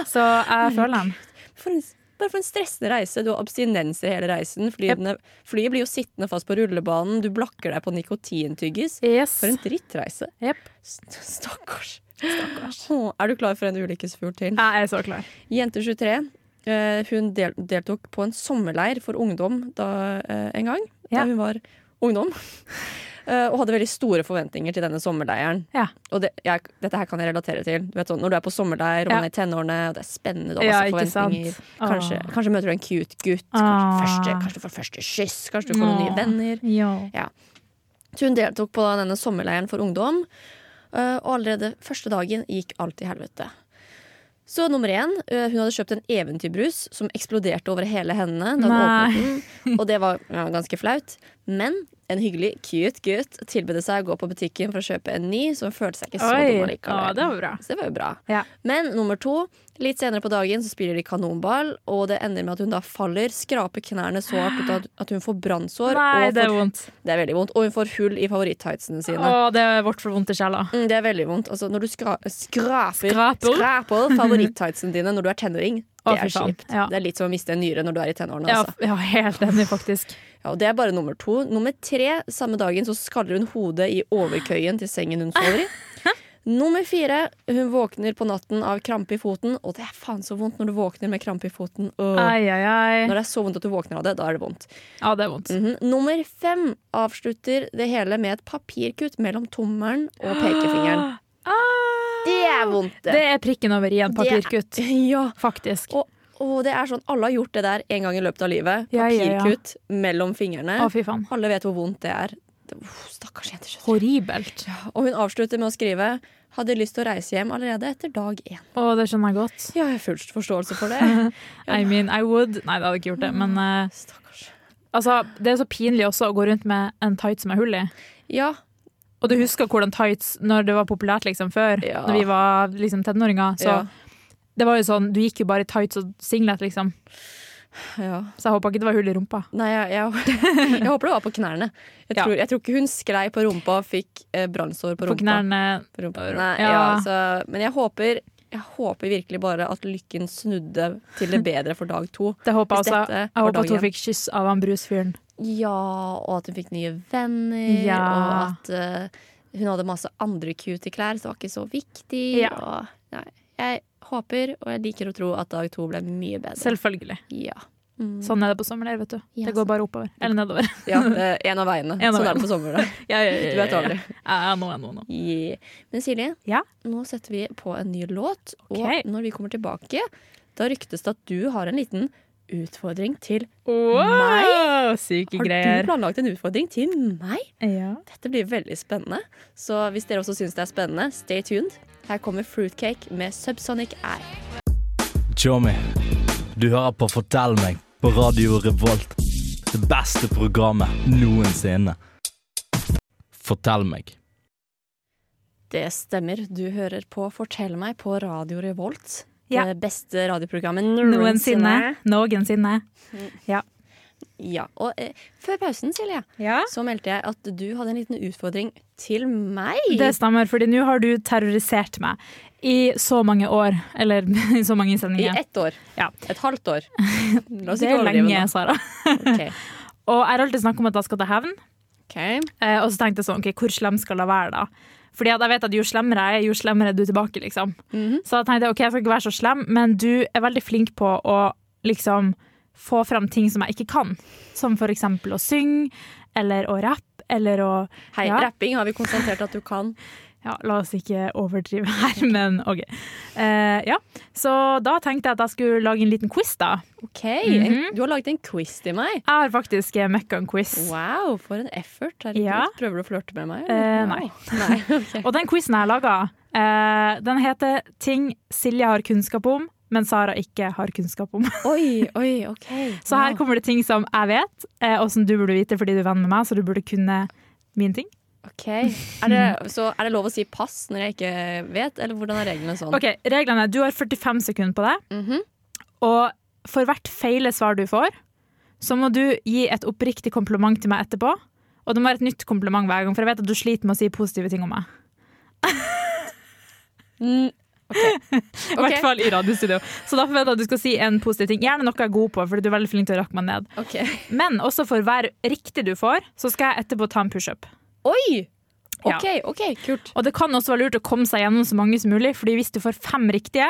Så jeg føler den.
det, for en, bare for en stressende reise. Du har abstinenser hele reisen. Flyene, Flyet blir jo sittende fast på rullebanen. Du blakker deg på nikotintyggis.
Yes.
For en drittreise.
Jep.
St- Stakkars. Åh, Er du klar for en ulykkesfugl til?
Jeg er så klar.
Jente 23. eh, Hun del deltok på en sommerleir for ungdom da, eh, en gang,
Ja.
da hun var ungdom. [LAUGHS] Eh, og hadde veldig store forventninger til denne sommerleiren.
Ja.
Og det, jeg, dette her kan jeg relatere til. Du vet, sånn, når du er på sommerleir og
Ja.
man er i tenårene, og det er spennende, du har
Ja,
masse
ikke sant?
forventninger. Kanskje,
Åh.
kanskje møter du en cute gutt. Kanskje,
Ah.
første, kanskje du får første kyss. Kanskje du får noen
Åh.
nye venner.
Ja.
Så hun deltok på denne sommerleiren for ungdom, eh, og allerede første dagen gikk alt i helvete. Så nummer én, eh, hun hadde kjøpt en eventyrbrus som eksploderte over hele hendene. Da hun
Nei.
åpnet den, og det var ja, ganske flaut. Men en hyggelig, cute gutt tilbød seg å gå på butikken for å kjøpe en ny, så hun følte seg ikke så
Oi.
dum
Ja,
likevel.
det var bra.
Så det var jo bra.
Ja.
Men nummer to, litt senere på dagen så spiller de kanonball, og det ender med at hun da faller, skraper knærne så hardt ut at- at hun får brannsår.
Nei,
og
det
får-
er vondt.
det er veldig vondt. Og hun får hull i favoritttightsene sine.
Å, det er vårt for vondt i sjela.
Mm, det er veldig vondt. Altså, når du skra skraper,
Skraper.
skraper favoritttightsene dine når du er tenåring, det
Å,
er
fy faen.
kjipt.
Ja.
Det er litt som å miste en nyre når du er i tenårene.
Ja,
Altså.
f- ja, helt enig, faktisk.
Ja, og det er bare nummer to. Nummer tre, samme dagen så skaller hun hodet i overkøyen til sengen hun sover
[LAUGHS]
i. Nummer fire, hun våkner på natten av krampe i foten. Og det er faen så vondt når du våkner med krampe i foten. Åh.
Ai, ai, ai.
Når det er så vondt at du våkner av det, da er det vondt.
Ja, det er vondt.
Mhm. Nummer fem avslutter det hele med et papirkutt mellom tommelen og pekefingeren.
[GASPS]
Det er vondt,
Ah! Det er prikken over i en papirkutt,
[LAUGHS] Ja.
faktisk.
Og, og det er sånn, alle har gjort det der en gang i løpet av livet.
Ja, ja, ja.
Papirkutt mellom fingrene.
Å, fy faen.
Alle vet hvor vondt det er. Det- uff, Stakkars jente. skjønner du.
Horribelt.
Og hun avslutter med å skrive hadde lyst til å reise hjem allerede etter dag én.
Å, det skjønner jeg godt.
Ja, jeg har full forståelse for
[LAUGHS]
det.
I mean, I would. Nei, det hadde ikke gjort det. Men eh,
Stakkars.
altså, det er så pinlig også å gå rundt med en tight som er hull i.
Ja,
Og du husker hvordan tights når det var populært liksom før,
Ja.
når vi var liksom tenåringer. Så
ja,
det var jo sånn, du gikk jo bare i tights og singlet, liksom.
ja.
Så jeg håpa ikke det var hull i rumpa.
Nei, jeg, jeg, [LAUGHS] jeg håper det var på knærne. Jeg
Ja.
tror, jeg tror ikke hun sklei på rumpa og fikk eh, brannsår på
På
rumpa.
knærne.
På rumpa. Nei, ja.
Ja.
så, men jeg håper, jeg håper virkelig bare at lykken snudde til det bedre for dag to.
Det håpa
Hvis
jeg også.
dette
Jeg
var
håper at hun
dagen.
fikk kyss av han brusfyren.
Ja, og at hun fikk nye venner,
Ja.
og at eh, hun hadde masse andre cute klær, så det var ikke så viktig.
Ja.
Og, nei, jeg håper, og jeg liker å tro, at dag to ble mye bedre.
Selvfølgelig.
Ja.
Sånn er det på sommerleir, vet du.
Ja,
Det går bare [LAUGHS] oppover. Eller nedover.
[LAUGHS] ja, det er en av veiene.
En av
sånn er
veiene.
det på sommer, da.
Ja, ja, ja,
Du vet
[LAUGHS]
aldri.
Ja, ja, nå, ja, nå, nå.
[LAUGHS] Yeah. Men Silje,
Ja?
nå setter vi på en ny låt.
Ok.
Og når vi kommer tilbake, da ryktes det at du har en liten utfordring til
Wow, syke
Har du
greier.
planlagt en utfordring til meg?
Ja.
Dette blir veldig spennende. Så hvis dere også syns det er spennende, stay tuned. Her kommer Fruitcake med Subsonic Air.
Tjommi, du hører på Fortell meg på Radio Revolt. Det beste programmet noensinne. Fortell meg.
Det stemmer. Du hører på Fortell meg på Radio Revolt.
Ja.
Det beste radioprogrammet
Noensinne.
noensinne.
Noensinne.
Ja. Og eh, før pausen, Silje,
Ja.
så meldte jeg at du hadde en liten utfordring til meg.
Det stemmer, fordi nå har du terrorisert meg i så mange år. Eller [LAUGHS] i så mange
I
sendinger.
ett år.
Ja.
Et halvt
[LAUGHS]
år. La oss
Det
ikke
er
overdrive
lenge,
nå.
Sara.
Ok.
Og jeg har alltid snakket om at jeg skal til hevn.
Ok.
Eh, og så tenkte jeg sånn, ok, hvor slem skal jeg være da? Fordi at jeg vet at jo slemmere jeg er, jo slemmere er du tilbake, liksom. Så jeg tenkte, ok, jeg skal ikke være så slem, men du er veldig flink på å liksom få frem ting som jeg ikke kan. Som for eksempel å synge, eller å rappe, eller å...
Hei,
ja,
rapping har vi konstatert at du kan.
ja, la oss ikke overdrive her, [LAUGHS] men ok. Eh, ja, så da tenkte jeg at jeg skulle lage en liten quiz da.
Ok,
Mhm.
Du har laget en quiz til meg.
Jeg har faktisk eh, møkka en quiz.
Wow, for en effort. Herregud.
Ja.
Prøver du å flørte med meg?
Eh,
eller?
nei.
Nei, ok.
Og den quizen jeg laga, eh, den heter 'Ting Silje har kunnskap om, men Sara ikke har kunnskap om'.
[LAUGHS] Oi, oi, ok.
Så her kommer det ting som jeg vet, eh, og som du burde vite fordi du er venn med meg, så du burde kunne min ting.
Ok. Er det, så er det lov å si pass når jeg ikke vet, eller hvordan er reglene sånn?
Ok, Reglene er du har 45 sekunder på deg,
Mhm.
og for hvert feile svar du får, så må du gi et oppriktig kompliment til meg etterpå. Og det må være et nytt kompliment hver gang, for jeg vet at du sliter med å si positive ting om meg.
[LAUGHS] Mm,
[LAUGHS] I hvert fall i radiostudio. Så da forventer jeg at du skal si en positiv ting. Gjerne noe jeg er god på, for du er veldig flink til å rakke meg ned.
ok.
Men også for hver riktig du får, så skal jeg etterpå ta en pushup.
Oi!
Ja.
Ok, ok, kult.
Og det kan også være lurt å komme seg gjennom så mange som mulig, fordi hvis du får fem riktige,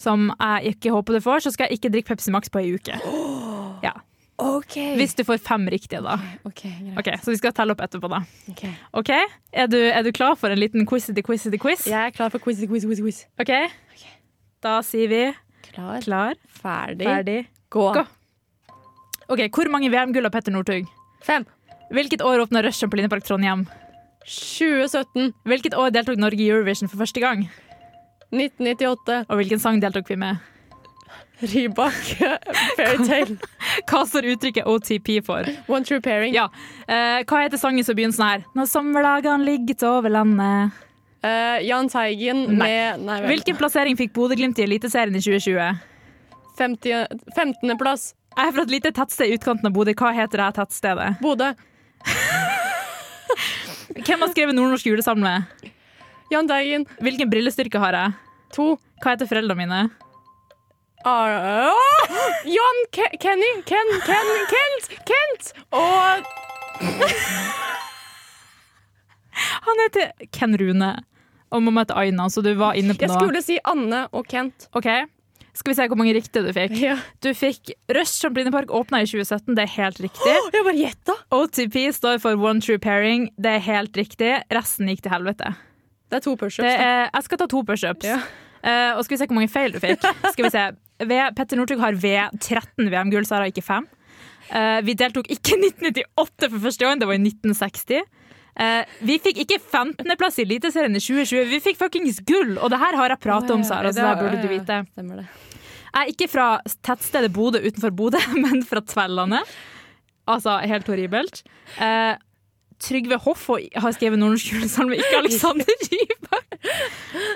som jeg ikke håper du får, så skal jeg ikke drikke Pepsi Max på ei uke. Ja.
Ok.
Hvis du får fem riktige, da.
Ok, greit.
Ok, Så vi skal telle opp etterpå, da.
Ok.
Ok, Er du, er du klar for en liten quizity quizity quiz?
Jeg er klar for quiz, quiz, quiz, quiz.
Ok? Da sier vi
Klar,
klar,
ferdig,
ferdig,
gå.
gå. Ok, Hvor mange VM-gull har Petter Northug?
Fem.
Hvilket år åpna Rush Trampolinepark Trondheim?
2017,
Hvilket år deltok Norge i Eurovision for første gang?
1998,
Og hvilken sang deltok vi med?
[LAUGHS] Rybak, Fairytale,
Hva står uttrykket OTP for?
One True Pairing.
[LAUGHS] Ja. Eh, hva heter sangen som begynner sånn her? Når sommerdagene ligget over landet.
Eh, Jahn Teigen
Nei.
med Nei, vel.
Hvilken plassering fikk Bodø-Glimt i Eliteserien i 2020?
50, 15. plass.
Jeg er fra et lite tettsted i utkanten av Bodø. Hva heter det her tettstedet?
Bodø.
Hvem har skrevet Nordnorsk julesalme?
Jahn Teigen.
Hvilken brillestyrke har jeg?
To.
Hva heter foreldrene mine?
Ar Åh! John Ke Kenny. Ken, Ken, Kent. Kent. Og
Han heter Ken Rune. Og mamma heter Aina, så du var inne på
jeg
noe.
skulle si Anne og Kent.
Ok, Skal vi se hvor mange riktige du fikk?
Ja.
Du fikk Rush Trampolinepark åpna i 2017, det er helt riktig.
Jeg bare gjetta.
OTP står for One True Pairing. Det er helt riktig. Resten gikk til helvete.
Det er to
Det
pushups. da.
er, jeg skal ta to pushups.
Ja.
Eh, og skal vi se hvor mange feil du fikk. Skal vi se. V, Petter Northug har V 13 VM-gull, Eh, Sara ikke 5. vi deltok ikke i 1998 for første gang, det var i 1960. Eh, vi fikk ikke 15.-plass i Eliteserien i 2020, vi fikk fuckings gull! Og det her har jeg pratet om, Sara, så det her burde du vite.
Stemmer det.
Jeg er ikke fra tettstedet Bodø utenfor Bodø, [LAUGHS] men fra Tvellandet. Altså, helt horribelt. Eh, Trygve Hoff og- har skrevet Nordnorsk julesalme, ikke [LAUGHS] Alexander Rybak.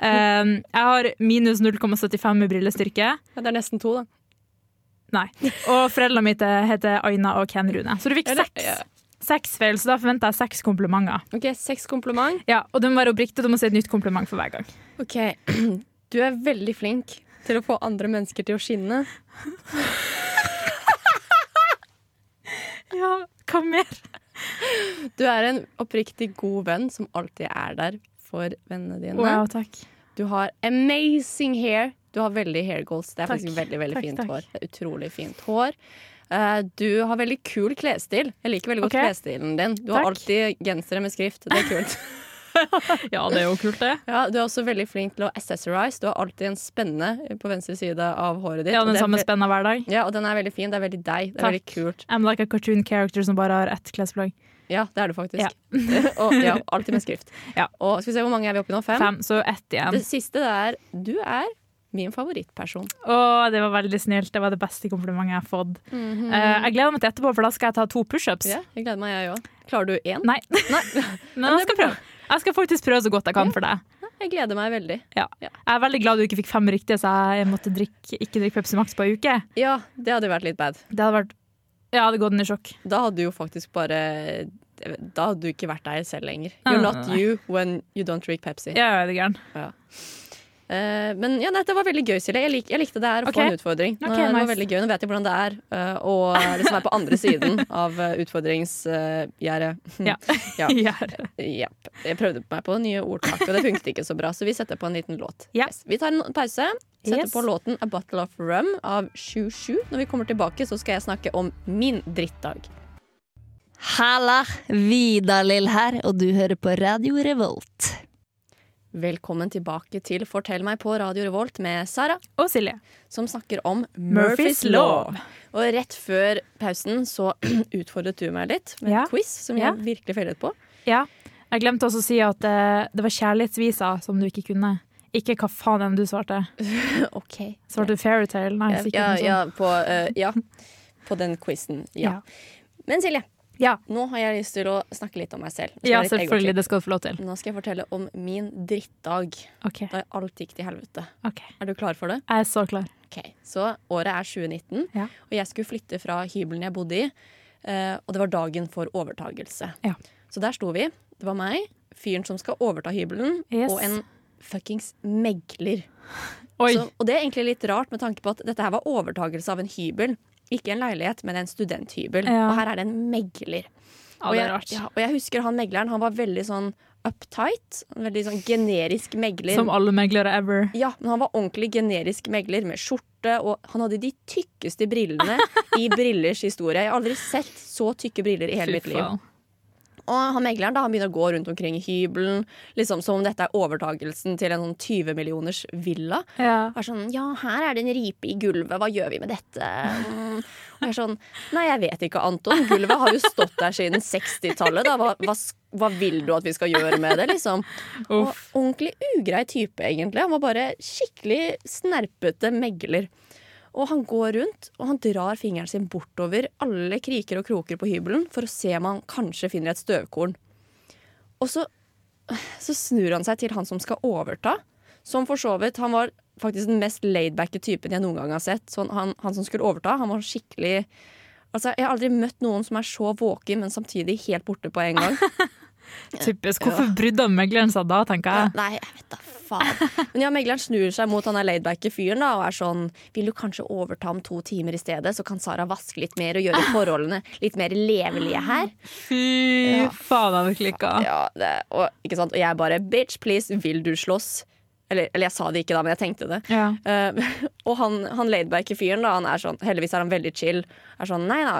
Eh, jeg har minus 0,75 i brillestyrke.
Ja, det er nesten to, da.
Nei. Og foreldrene mine heter Aina og Ken Rune. Så du fikk
Ja, det-
seks.
ja.
Seks feil, så da forventer jeg seks komplimenter.
Ok, Seks kompliment.
Ja, Og du må være oppriktig, og du må si et nytt kompliment for hver gang.
Ok, [CLEARS THROAT] Du er veldig flink til å få andre mennesker til å skinne.
Ja, hva mer?
Du er en oppriktig god venn som alltid er der for vennene dine.
Wow, takk.
Du har amazing hair. Du har veldig hair goals. Det er
Takk.
faktisk veldig, veldig
Takk,
fint
takk.
hår. Det er utrolig fint hår. Eh, Du har veldig kul klesstil. Jeg liker veldig godt
Ok.
klesstilen din. Du har
Takk.
alltid gensere med skrift. Det er kult.
[LAUGHS] Ja, det er jo kult, det.
Ja, du er også veldig flink til å accessorize. Du har alltid en spenne på venstre side av håret ditt.
Ja,
og
den
det er
samme
ve-
spenna hver dag.
Ja, og den er veldig fin. Det er veldig deg. Det er
Takk.
veldig kult.
I'm like a cartoon character som bare har ett klesplagg.
Ja, det er du faktisk.
Ja.
[LAUGHS] og ja, alltid med skrift.
[LAUGHS] Ja.
Og skal vi se hvor mange er vi oppe i nå? Fem?
Fem, så ett igjen.
Det siste det er du er min favorittperson.
Å, det var veldig snilt. Det var det beste komplimentet jeg har fått. Eh, jeg gleder meg til etterpå, for da skal jeg ta to pushups.
Ja, jeg gleder meg, jeg òg. Klarer du én?
Nei. [LAUGHS] Men jeg skal prøve. Jeg skal faktisk prøve så godt jeg kan for deg.
Jeg gleder meg veldig.
Ja.
Ja.
Jeg er veldig glad du ikke fikk fem riktige, så jeg måtte drikke, ikke drikke Pepsi Max på ei uke.
Ja, det hadde vært litt bad.
Det hadde vært Jeg hadde gått ned i sjokk.
Da hadde du jo faktisk bare Da hadde du ikke vært deg selv lenger.
Nei,
You're
nei,
not
nei.
you when you don't drink Pepsi.
Ah. Ja, ja, det er gæren.
Eh, men ja, nei, det var veldig gøy, Silje. Jeg, lik, jeg likte det her å
Ok.
få en utfordring. Nå,
Ok,
det var
nice.
veldig gøy. Nå vet jeg hvordan det er eh, å liksom være på andre siden av eh, utfordringsgjerdet. Eh,
[LAUGHS] Ja.
Ja.
Gjør.
Jepp. Jeg prøvde meg på nye ordtak, og det funket ikke så bra, så vi setter på en liten låt.
Ja.
Yes. Vi tar en pause. Setter
Yes.
på låten A Bottle of Rum av 27. Når vi kommer tilbake, så skal jeg snakke om min drittdag.
Halla, Vidar-Lill her, og du hører på Radio Revolt.
Velkommen tilbake til Fortell meg på Radio Revolt med Sara,
Og Silje.
som snakker om
Murphys Law.
Og rett før pausen så [CLEARS THROAT] utfordret du meg litt med
Ja.
en quiz som
Ja.
jeg virkelig feilet
[CLEARS THROAT]
på.
Ja. Jeg glemte også å si at eh, det var kjærlighetsvisa som du ikke kunne. Ikke hva faen enn du svarte.
Ok.
Svarte du fairytale? Nei,
Ja,
sikkert
ja,
noe sånt.
ja, på, eh, ja, på den quizen. Ja.
Ja.
Men Silje,
Ja.
nå har jeg lyst til å snakke litt om meg selv. Nå skal
Ja,
jeg litt
selvfølgelig. Det skal du få lov til.
Nå skal jeg fortelle om min drittdag
OK.
da alt gikk til helvete.
ok.
Er du klar for det?
Jeg er så klar.
Ok, Så året er 2019,
Ja.
og jeg skulle flytte fra hybelen jeg bodde i. eh, Og det var dagen for overtagelse.
Ja.
Så der sto vi. Det var meg, fyren som skal overta hybelen,
Yes.
og en fuckings megler.
Oi.
Så, og det er egentlig litt rart med tanke på at dette her var overtagelse av en hybel. Ikke en leilighet, men en studenthybel.
Ja.
Og her er det en megler.
ja,
og,
det
jeg,
er rart.
Ja, og jeg husker han megleren, han var veldig sånn uptight. En veldig sånn generisk megler.
Som alle meglere ever.
Ja, men han var ordentlig generisk megler med skjorte, og han hadde de tykkeste brillene
[LAUGHS]
i brillers historie. Jeg har aldri sett så tykke briller i hele mitt liv.
faen.
Og han megleren da, han begynner å gå rundt omkring i hybelen, liksom som om dette er overtagelsen til en sånn 20 millioners villa.
Ja.
Og er sånn, ja, her er det en ripe i gulvet, hva gjør vi med dette? Mm. Og jeg er sånn, nei, jeg vet ikke, Anton. Gulvet har jo stått der siden 60-tallet. da. Hva, hva, s- hva vil du at vi skal gjøre med det, liksom? Og
Uff.
ordentlig ugrei type, egentlig. Han var bare skikkelig snerpete megler. Og han går rundt, og han drar fingeren sin bortover alle kriker og kroker på hybelen for å se om han kanskje finner et støvkorn. Og så, så snur han seg til han som skal overta, som for så vidt Han var faktisk den mest laidbacke typen jeg noen gang har sett. Så han, han som skulle overta, han var skikkelig Altså, Jeg har aldri møtt noen som er så våken, men samtidig helt borte på en gang.
Typisk. Hvorfor brydde megleren seg da, tenker jeg.
Nei, jeg vet da faen. Men ja, megleren snur seg mot han der laidbacke fyren da, og er sånn Vil du kanskje overta om to timer i stedet, så kan Sara vaske litt mer og gjøre forholdene litt mer levelige her?
Fy faen, jeg hadde klikka.
Ja, det, og, ikke sant? og jeg bare Bitch, please, vil du slåss? Eller, eller jeg sa det ikke da, men jeg tenkte det.
Ja.
Eh, [LAUGHS] og han, han laidbacke fyren, da, han er sånn Heldigvis er han veldig chill. Er sånn Nei da,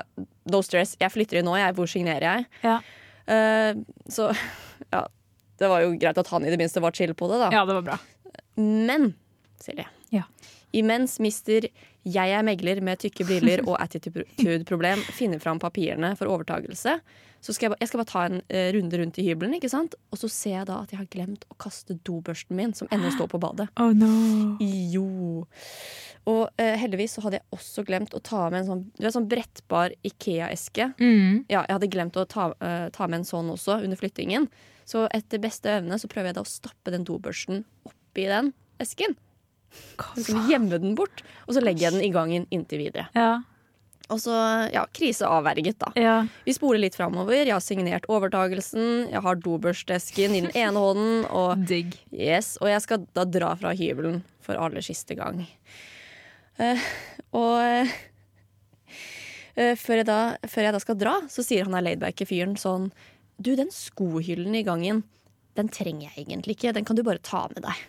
no stress. Jeg flytter inn nå, jeg. Hvor signerer jeg?
Ja.
Eh, så [LAUGHS] ja. Det var jo greit at han i det minste var chill på det, da.
ja, det var bra.
Men, Silje
Ja.
Imens mister jeg er megler med tykke briller og attitude-problem finner fram papirene for overtagelse, Så skal jeg, ba- jeg skal bare ta en eh, runde rundt i hybelen, ikke sant? og så ser jeg da at jeg har glemt å kaste dobørsten min, som ennå står på badet.
Oh no.
Jo. Og eh, heldigvis så hadde jeg også glemt å ta med en sånn, du vet, sånn brettbar Ikea-eske.
Mm.
Ja, jeg hadde glemt å ta, eh, ta med en sånn også under flyttingen. Så etter beste evne så prøver jeg da å stappe den dobørsten oppi den esken. Så liksom gjemme den bort, og så legger jeg den i gangen inntil videre.
Ja,
Og så, ja, krise avverget, da.
ja.
Vi spoler litt framover. Jeg har signert overtagelsen, jeg har dobørstesken i den ene hånden, og
Digg.
Yes, og jeg skal da dra fra hybelen for aller siste gang. Eh, og eh, før, jeg da, før jeg da skal dra, så sier han her laidbacke fyren sånn Du, den skohyllen i gangen, den trenger jeg egentlig ikke. Den kan du bare ta med deg.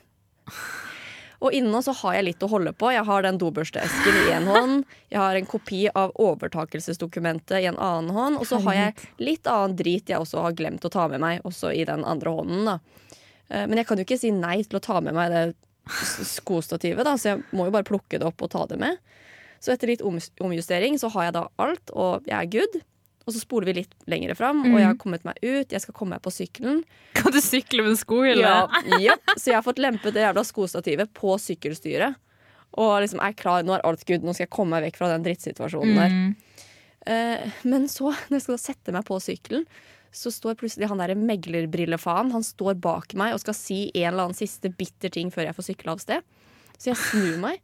Og inne så har jeg litt å holde på. Jeg har den dobørsteesken i én hånd. Jeg har en kopi av overtakelsesdokumentet i en annen hånd. Og så har jeg litt annen drit jeg også har glemt å ta med meg, også i den andre hånden. da. Eh, Men jeg kan jo ikke si nei til å ta med meg det s- skostativet, da, så jeg må jo bare plukke det opp og ta det med. Så etter litt oms- omjustering så har jeg da alt, og jeg er good. Og så spoler vi litt lenger fram, og jeg har kommet meg ut, jeg skal komme meg på sykkelen.
Kan du sykle med en skohylle?
Ja, [LAUGHS] japp. Så jeg har fått lempet det jævla skostativet på sykkelstyret. Og liksom er klar, nå er alt good, nå skal jeg komme meg vekk fra den drittsituasjonen der.
Mm.
Eh, men så, når jeg skal da sette meg på sykkelen, så står plutselig han der meglerbrillepfaen Han står bak meg og skal si en eller annen siste bitter ting før jeg får sykle av sted. Så jeg snur meg.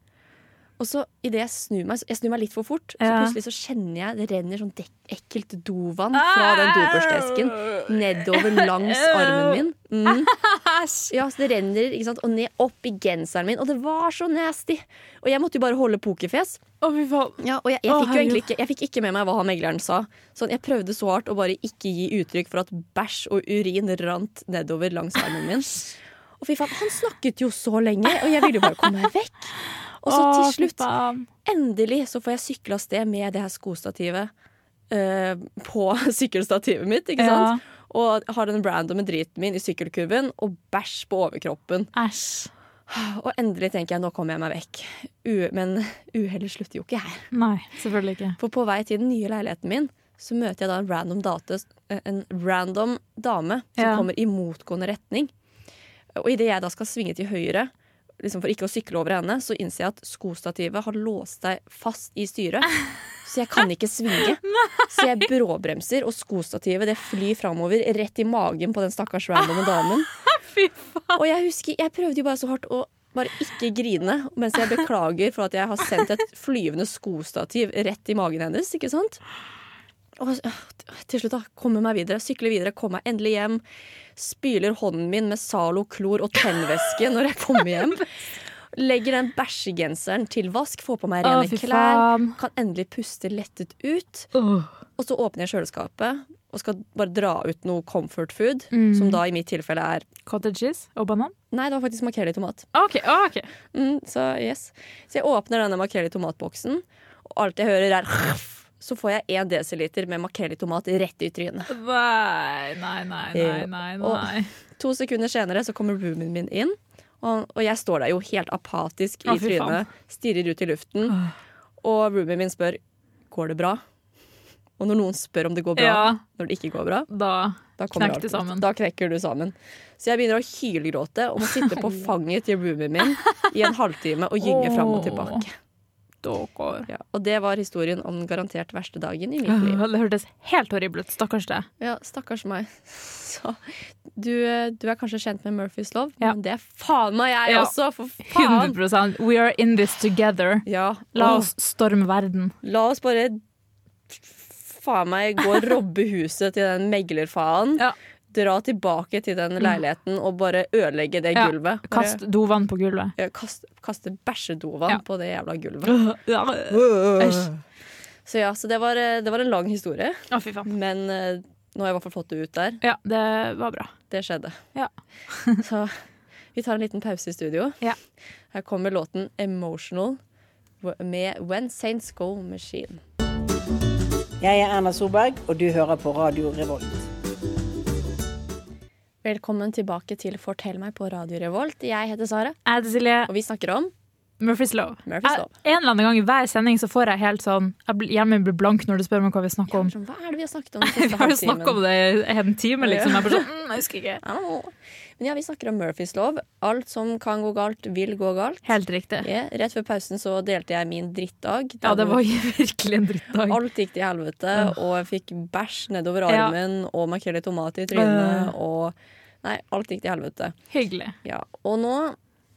Og så idet jeg snur meg, så- jeg snur meg litt for fort, så
Ja.
plutselig så kjenner jeg det renner sånn dek ekkelt dovann
Ah!
fra den dobørsteesken nedover langs armen min.
[LAUGHS]
Mm. Ja, så det renner ikke sant? og ned opp i genseren min, og det var så nasty! Og jeg måtte jo bare holde pokerfjes.
Å, fy faen.
Ja, og jeg, jeg
Å,
fikk jo egentlig
herregud.
ikke, jeg fikk ikke med meg hva han megleren sa. Sånn, jeg prøvde så hardt å bare ikke gi uttrykk for at bæsj og urin rant nedover langs armen min. Og fy faen, han snakket jo så lenge, og jeg ville jo bare komme meg vekk. Og så
Å,
til
fy
slutt,
faen.
endelig, så får jeg sykle av sted med det her skostativet eh, på [LAUGHS] sykkelstativet mitt, ikke
Ja.
sant? Og har den randomme driten min i sykkelkurven, og bæsj på overkroppen.
Æsj.
Og endelig tenker jeg, nå kommer jeg meg vekk. U men [LAUGHS] uhellet slutter jo ikke her.
Nei, selvfølgelig ikke.
For på vei til den nye leiligheten min så møter jeg da en random, date, eh, en random dame som
Ja.
kommer i motgående retning. Og idet jeg da skal svinge til høyre liksom for ikke å sykle over henne, så innser jeg at skostativet har låst seg fast i styret. Så jeg kan ikke svinge. Så jeg bråbremser, og skostativet det flyr framover rett i magen på den stakkars randomme damen. Og jeg husker, jeg prøvde jo bare så hardt å bare ikke grine, mens jeg beklager for at jeg har sendt et flyvende skostativ rett i magen hennes, ikke sant? Og øh, til slutt da, komme meg videre, sykle videre, komme meg endelig hjem. Spyler hånden min med Zalo, klor og tennvæske når jeg kommer
[LAUGHS]
hjem. Legger den bæsjegenseren til vask, får på meg
Å,
rene
fy
klær.
faen.
Kan endelig puste lettet ut.
Åh.
Og så åpner jeg kjøleskapet og skal bare dra ut noe comfort food,
Mm.
som da i mitt tilfelle er
Cottage cheese og banan?
Nei, det var faktisk makrell i tomat.
OK. å, ok.
Mm, så yes. Så jeg åpner denne makrell i tomatboksen, og alt jeg hører er [LAUGHS] Så får jeg én desiliter med makrell i tomat rett i trynet.
Nei, nei, nei, nei,
Eh,
nei.
og-
nei.
To sekunder senere så kommer roomien min inn, og, og jeg står der jo helt apatisk i
Å, fy faen.
trynet, stirrer ut i luften, og roomien min spør går det bra. Og når noen spør om det går bra,
Ja.
når det ikke går bra,
Da
da kommer
Knekk det
alt ut.
sammen.
Da knekker du sammen. Så jeg begynner å hylgråte og må sitte på fanget til roomien min i en halvtime og gynge fram og tilbake.
Dokker.
Ja, og det var historien om den garantert verste dagen i mitt
[LAUGHS]
liv.
Det hørtes helt horribelt ut. Stakkars deg.
Ja, stakkars meg. [LAUGHS] Så, du, eh, du er kanskje kjent med Murphys lov,
Ja.
men det er faen meg jeg
Ja.
også, for faen!
100 We are in this together.
Ja,
La
åh,
oss storme verden.
la oss bare faen meg gå og robbe huset til den meglerfaen.
Ja. Mm.
Dra tilbake til den leiligheten og bare ødelegge det
Ja,
gulvet. Bare,
Kast dovann på
[LAUGHS]
gulvet.
ja, kast, kaste bæsjedovan
Ja.
på det jævla gulvet.
[GASPS] Æsj.
Så ja, så det var, eh, det var en lang historie,
Å, fy faen.
men eh, nå har jeg i hvert fall fått det ut der.
Ja, det var bra.
Det skjedde.
Ja.
[LAUGHS]
[LAUGHS]
så vi tar en liten pause i studio.
Ja.
Her kommer låten 'Emotional' med When Saints Go Machine.
Jeg er Erna Solberg, og du hører på Radio Revolt.
Velkommen tilbake til Fortell meg på Radio Revolt. Jeg heter Sara,
Jeg heter Silje.
og vi snakker om
Murphy's Law.
Murphy's Law.
Jeg, en eller annen gang i hver sending så får jeg helt sånn jeg blir, Hjernen min blir blank når du spør meg hva vi snakker om.
Sånn, Hva er det vi har snakket om?
[LAUGHS]
den
Vi
siste
har jo
halvtimen?
snakket om det i en time, liksom. Jeg bare sånn, mm, jeg husker ikke.
I don't know. Men ja, vi snakker om Murphys lov. Alt som kan gå galt, vil gå galt.
Helt riktig.
Ja, rett før pausen så delte jeg min drittdag.
Ja, det var [LAUGHS] jo virkelig en drittdag.
Alt gikk til helvete, og jeg fikk bæsj nedover
Ja.
armen og makrell i tomat i trynet. Og Nei, alt gikk til helvete.
Hyggelig.
Ja. Og nå,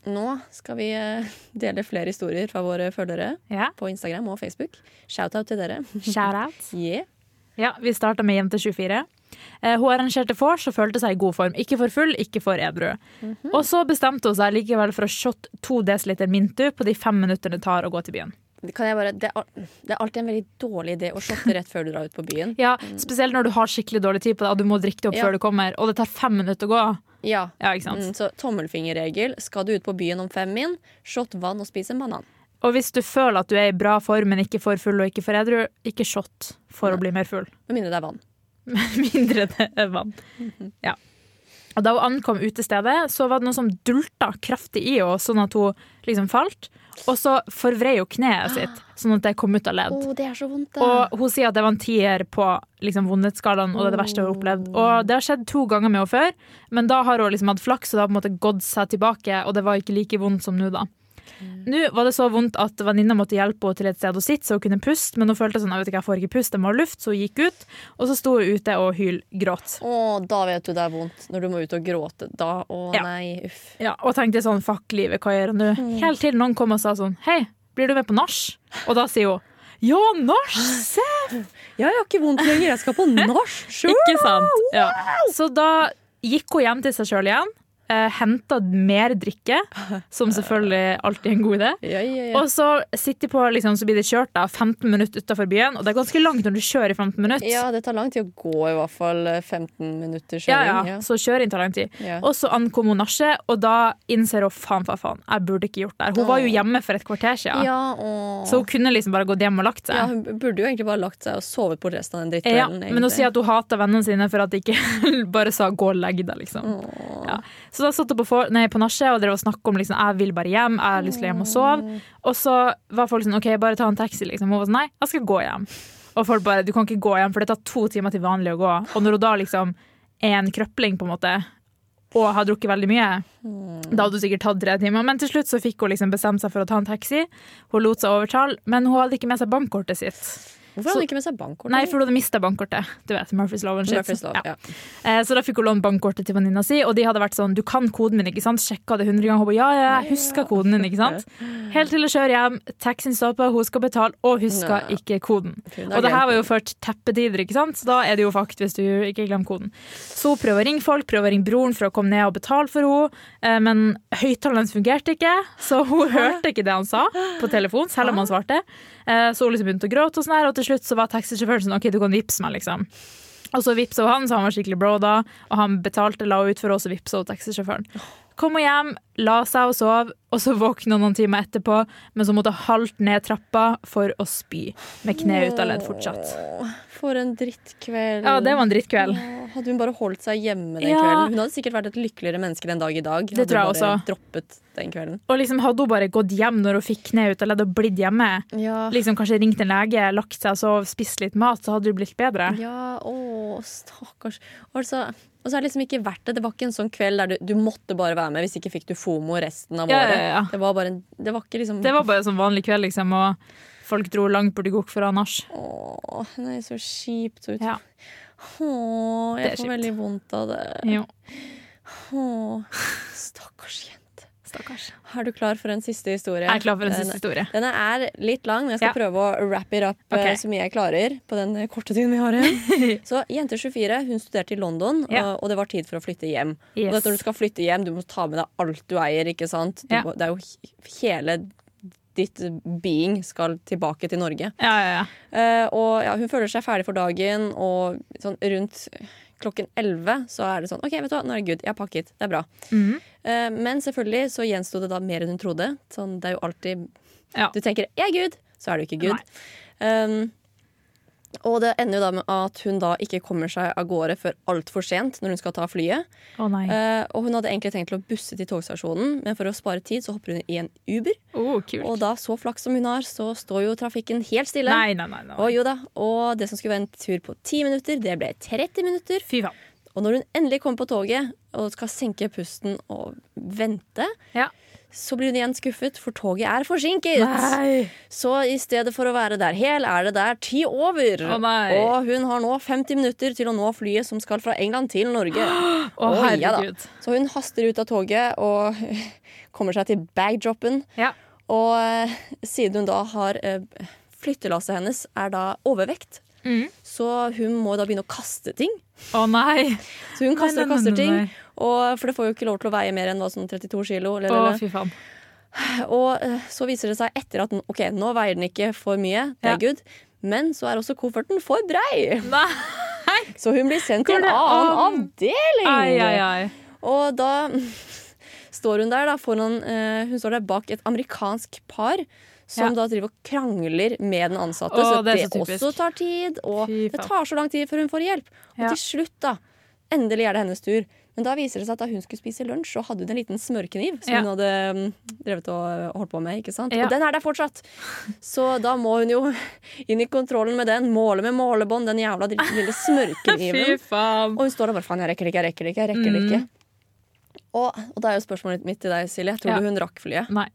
nå skal vi eh, dele flere historier fra våre følgere
Ja,
på Instagram og Facebook. Shout-out til dere.
shout out.
Yeah.
Ja, vi starta med Jente 24. Eh, Hun arrangerte vors og følte seg i god form. Ikke for full, ikke for edru. Og så bestemte hun seg likevel for å shotte to dl Mintu på de fem minuttene det tar å gå til byen.
Kan jeg bare, det, er, al- det er alltid en veldig dårlig idé å shotte rett før du drar ut på [LAUGHS] byen.
Ja, Spesielt når du har skikkelig dårlig tid på deg og du må drikke det opp
Ja.
før du kommer, og det tar fem minutter å gå.
Ja,
Ja, ikke sant?
Mm, så tommelfingerregel. Skal du ut på byen om fem min, shot vann og spis en banan.
Og hvis du føler at du er i bra form, men ikke for full og ikke for edru, ikke shot for å bli mer full.
Med mindre det er vann.
[LAUGHS] mindre det er vann. Ja. Og da hun ankom utestedet, så var det noe som dulta kraftig i henne, sånn at hun liksom falt. Og så forvrei hun kneet sitt, sånn at det kom ut av
Å,
ledd.
det er så vondt, det.
Og hun sier at det var en tier på liksom, vondhetsskalaen, og det er det verste hun har opplevd. Og det har skjedd to ganger med henne før, men da har hun liksom hatt flaks, og det har på en måte gått seg tilbake, og det var ikke like vondt som nå, da. Nå var det så vondt at venninna måtte hjelpe henne til et sted å sitte, så hun kunne puste, men hun følte sånn, jeg vet ikke, jeg får ikke puste, jeg må ha luft, så hun gikk ut, og så sto hun ute og hylgråt.
Å, da vet du det er vondt. Når du må ut og gråte. Da, å
Ja.
nei, uff.
Ja, og tenkte sånn, fuck livet, hva gjør jeg nå? Helt til noen kom og sa sånn, hei, blir du med på nars? Og da sier hun, ja, nars, se!
Ja, jeg har ikke vondt lenger. Jeg skal på nach.
[LAUGHS] Ikke sant? Ja. Så da gikk hun hjem til seg selv igjen, eh, hentet mer drikke, som selvfølgelig alltid er en god idé.
Ja, ja, ja.
Og så sitter de på, liksom, så blir det kjørt da, 15 minutter utenfor byen, og det er ganske langt når du kjører i 15 minutter.
ja, det tar lang tid å gå, i hvert fall. 15 minutter
Ja,
kjøring.
ja, så kjøring tar lang tid.
Ja.
Og så ankom hun nachet, og da innser hun faen, faen, faen, jeg burde ikke gjort det her. Hun var jo hjemme for et kvarter siden.
Ja, å.
Så hun kunne liksom bare gått hjem og lagt
ja,
seg.
hun burde jo egentlig bare lagt seg og sovet bort resten av den
Ja,
drittkvelden.
men hun
egentlig.
sier at hun hater vennene sine for at de ikke [LAUGHS] bare sa 'gå og legg deg', liksom. Ja. Så da satt hun på, for- nei, på nachet og drev og snakket om liksom, 'jeg vil bare hjem', 'jeg har lyst til å hjem og sove'. Og så var folk sånn 'OK, bare ta en taxi', liksom. Hun var sånn 'nei, jeg skal gå hjem'. Og folk bare 'du kan ikke gå hjem, for det tar to timer til vanlig å gå'. Og når hun da liksom er en krøpling, på en måte, og har drukket veldig mye, da hadde hun sikkert tatt tre timer. Men til slutt så fikk hun liksom bestemt seg for å ta en taxi. Hun lot seg overtale, men hun hadde ikke med seg bankkortet sitt.
Hvorfor hadde hun ikke med seg bankkortet?
Nei, for hun hadde mista bankkortet. Du vet, Murphys Law. and shit.
Murphys lov,
Ja.
ja.
Eh, Så da fikk hun låne bankkortet til venninna si, og de hadde vært sånn 'du kan koden min', ikke sant? Sjekka det 100 ganger. Hun ba, ja, ja, jeg husker koden din, ikke sant? Helt til å kjøre hjem, taxien stopper, hun skal betale, og husker
Nei.
ikke koden.
Hun har
Og det
glemt
her var jo før teppetider, ikke sant? Så da er det jo fakt hvis du ikke glemmer koden. Så hun prøver å ringe folk, prøver å ringe broren for å komme ned og betale for henne, eh, men høyttaleren hans fungerte ikke, så hun hørte ikke det han sa på telefon, selv om han svarte. Eh, Så hun liksom begynte å gråte og sånn her, og til slutt så var taxisjåføren sånn, ok, du kan vippse meg, liksom. Og så vippsa hun han, så han var skikkelig bro da, og han betalte, la henne ut for henne, og så vippsa hun taxisjåføren. Kom hun hjem, la seg og sov, og så våkna hun noen timer etterpå, men så måtte hun halte ned trappa for å spy, med kneet ut av ledd fortsatt.
For en drittkveld.
Ja, det var en drittkveld.
Åh, Hadde hun bare holdt seg hjemme den
Ja.
kvelden? Hun hadde sikkert vært et lykkeligere menneske den dag i dag. Hadde
tror jeg
hun bare
også.
droppet den kvelden.
Og liksom hadde hun bare gått hjem når hun fikk kneet ut av ledd og blitt hjemme,
Ja,
liksom kanskje ringt en lege, lagt seg og sov, spist litt mat, så hadde det blitt bedre.
ja å, stakkars. Altså, og så er det liksom ikke verdt det. Det var ikke en sånn kveld der du, du måtte bare være med, hvis ikke fikk du FOMO resten av
Ja,
året.
ja, ja.
Det var bare en Det var ikke liksom
Det var bare sånn vanlig kveld, liksom, og folk dro langt bort i gokk for å ha nach.
Åh, nei, så kjipt. og ut-
Ja.
Åh,
Det
jeg
er
får
kjipt.
veldig vondt av det.
Jo,
Åh, stakkars jente.
stakkars.
Er du klar for en siste historie?
Jeg er klar for en
Den-
siste historie.
Denne er litt lang, men jeg skal
Ja.
prøve å wrap it up
Ok.
eh, så mye jeg klarer. på den eh, korte tiden vi har
[LAUGHS]
igjen. Så Jente 24 hun studerte i London, eh,
Ja.
og, og det var tid for å flytte hjem.
Yes.
Og vet, du, når du skal flytte hjem, du må ta med deg alt du eier. ikke sant? Du,
Ja.
må- Det er jo he- hele ditt being skal tilbake til Norge.
Ja, ja, ja.
Eh, og ja, hun føler seg ferdig for dagen, og sånn rundt klokken 11 så er det sånn OK, vet du hva, nå er det good. Jeg har pakket. Det er bra.
Mhm.
Eh, men selvfølgelig så gjensto det da mer enn hun trodde. Sånn, det er jo alltid
Ja.
Du tenker 'jeg er good', så er du ikke good. Um, Ehm, Og det ender jo da med at hun da ikke kommer seg av gårde før altfor sent når hun skal ta flyet.
Å nei.
Eh, og hun hadde egentlig tenkt til å busse til togstasjonen, men for å spare tid så hopper hun i en Uber.
Oh, kult.
Og da, så flaks som hun har, så står jo trafikken helt stille.
Nei, nei, nei. nei.
Og jo da, og det som skulle være en tur på 10 minutter, det ble 30 minutter.
Fy faen.
Og når hun endelig kommer på toget og skal senke pusten og vente,
Ja.
så blir hun igjen skuffet, for toget er forsinket. Så i stedet for å være der hel, er det der ti over.
Å, nei.
og hun har nå 50 minutter til å nå flyet som skal fra England til Norge.
[GASPS] Å,
Å, ja da.
herregud.
Så hun haster ut av toget og [LAUGHS] kommer seg til bagdropen.
Ja.
Og eh, siden hun da har eh, Flyttelasset hennes er da overvekt,
Mm.
så hun må da begynne å kaste ting.
Å nei.
Så hun kaster
nei,
og kaster
nei,
ting,
nei.
og, for det får jo ikke lov til å veie mer enn hva, sånn 32 kilo. Eller,
Å,
eller.
fy faen.
Og eh, så viser det seg etter at den, ok, nå veier den ikke for mye, det
Ja.
er good, men så er også kofferten for brei.
Nei.
Så hun blir sendt til en
Går det
annen
an?
avdeling.
Ai, ai, ai.
Og da [LAUGHS] står hun der da foran eh, Hun står der bak et amerikansk par som
Ja.
da driver og krangler med den ansatte.
Å,
så
det
det,
er så typisk.
også tar tid, og
Fy
det
faen.
tar så lang tid før hun får hjelp. Og
Ja.
til slutt, da, endelig er det hennes tur. Men da viser det seg at da hun skulle spise lunsj, så hadde hun en liten smørkniv som
Ja.
hun hadde mm, drevet og holdt på med. ikke sant?
Ja.
Og den er der fortsatt! Så da må hun jo [LAUGHS] inn i kontrollen med den, måle med målebånd, den jævla dritt-
[LAUGHS]
lille smørkniven.
Fy faen.
Og hun står der bare faen, jeg rekker det ikke, jeg rekker det ikke. jeg rekker det ikke. Og, og da er jo spørsmålet mitt til deg, Silje. Tror
Mm. Ja.
du hun rakk flyet?
Nei.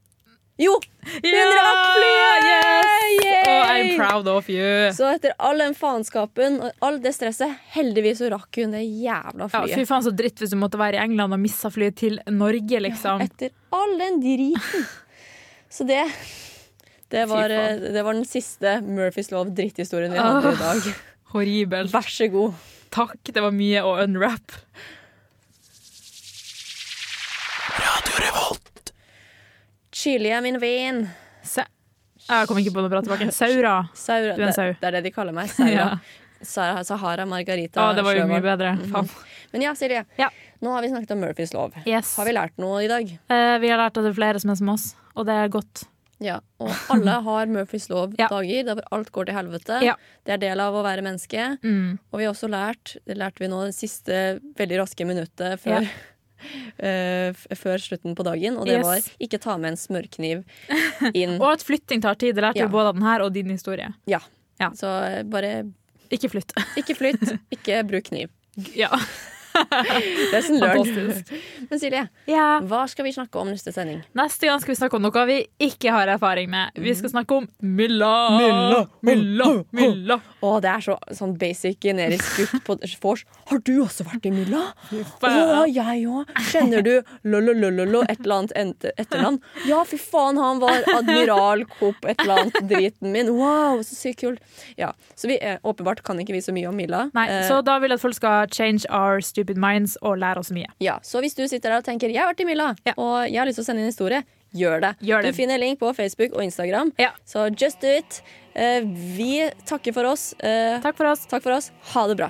Jo! Hun rakk flyet! Yay!
Yes! Oh, I'm proud of you.
Så etter all den faenskapen og all det stresset, heldigvis så rakk hun det jævla
Ja, fy
flyet.
faen så dritt hvis du måtte være i England og missa flyet til Norge, liksom.
etter all den driten. Så det det var,
faen.
det var den siste Murphys lov-dritthistorien vi hadde i dag.
Horribelt.
Vær så god.
Takk, det var mye å unwrap.
Chili er min venn.
Se. Jeg kom ikke på noe bra [LAUGHS] tilbake. Saura.
Saura.
Du er en sau.
Det, det er det de kaller meg.
Ja.
Saura. Sa- Sahara Margarita.
Å, det var jo
Sjøvold.
mye bedre. Faen.
Men ja, Silje.
Mm-hmm. Ja.
Nå har vi snakket om Murphys lov.
Yes.
Har vi lært noe i dag?
Eh, vi har lært at det er flere som er som oss, og det er godt.
Ja.
[LAUGHS]
Og alle har Murphys
Ja.
lov-dager der hvor alt går til helvete.
Ja. Mm.
Det er del av å være menneske. Og vi har også lært, det lærte vi nå det siste veldig raske minuttet før, [LAUGHS] eh, f- før slutten på dagen, og det
Yes.
var ikke ta med en
[LAUGHS]
smørkniv inn.
Og at flytting tar tid. Det lærte
Mm. Ja.
vi både av den her og din historie.
ja.
Ja.
Så eh, bare
Ikke flytt. [LAUGHS]
ikke flytt, ikke bruk kniv.
ja.
Lesson learned.
Fantastisk.
[LAUGHS] Men Silje,
Ja.
hva skal vi snakke om neste sending?
Neste gang skal vi snakke om noe vi ikke har erfaring med.
Mm.
Vi skal snakke om mylla.
Mylla,
mylla, mylla.
Å, det er så, sånn basic generisk gutt på vors. Har du også vært i mylla? Å,
faen.
jeg òg. Kjenner du lo-lo-lo-lo-lo, et eller annet ente- etternavn? Ja, fy faen, han var admiral Coop, et eller annet, driten min. Wow, så sykt kult. Ja, så vi eh, åpenbart kan ikke vi så mye om mylla.
Nei,
Eh,
så da vil jeg at folk skal change our stupid minds og lære oss mye.
ja, så hvis du sitter der og tenker 'jeg har vært i mylla',
Ja.
og jeg har lyst til å sende inn historie, gjør det.
Gjør det.
Du finner link på Facebook og Instagram.
Ja.
Så just do it. Eh, vi takker for oss. Eh,
Takk for oss.
takk for oss. Ha det bra.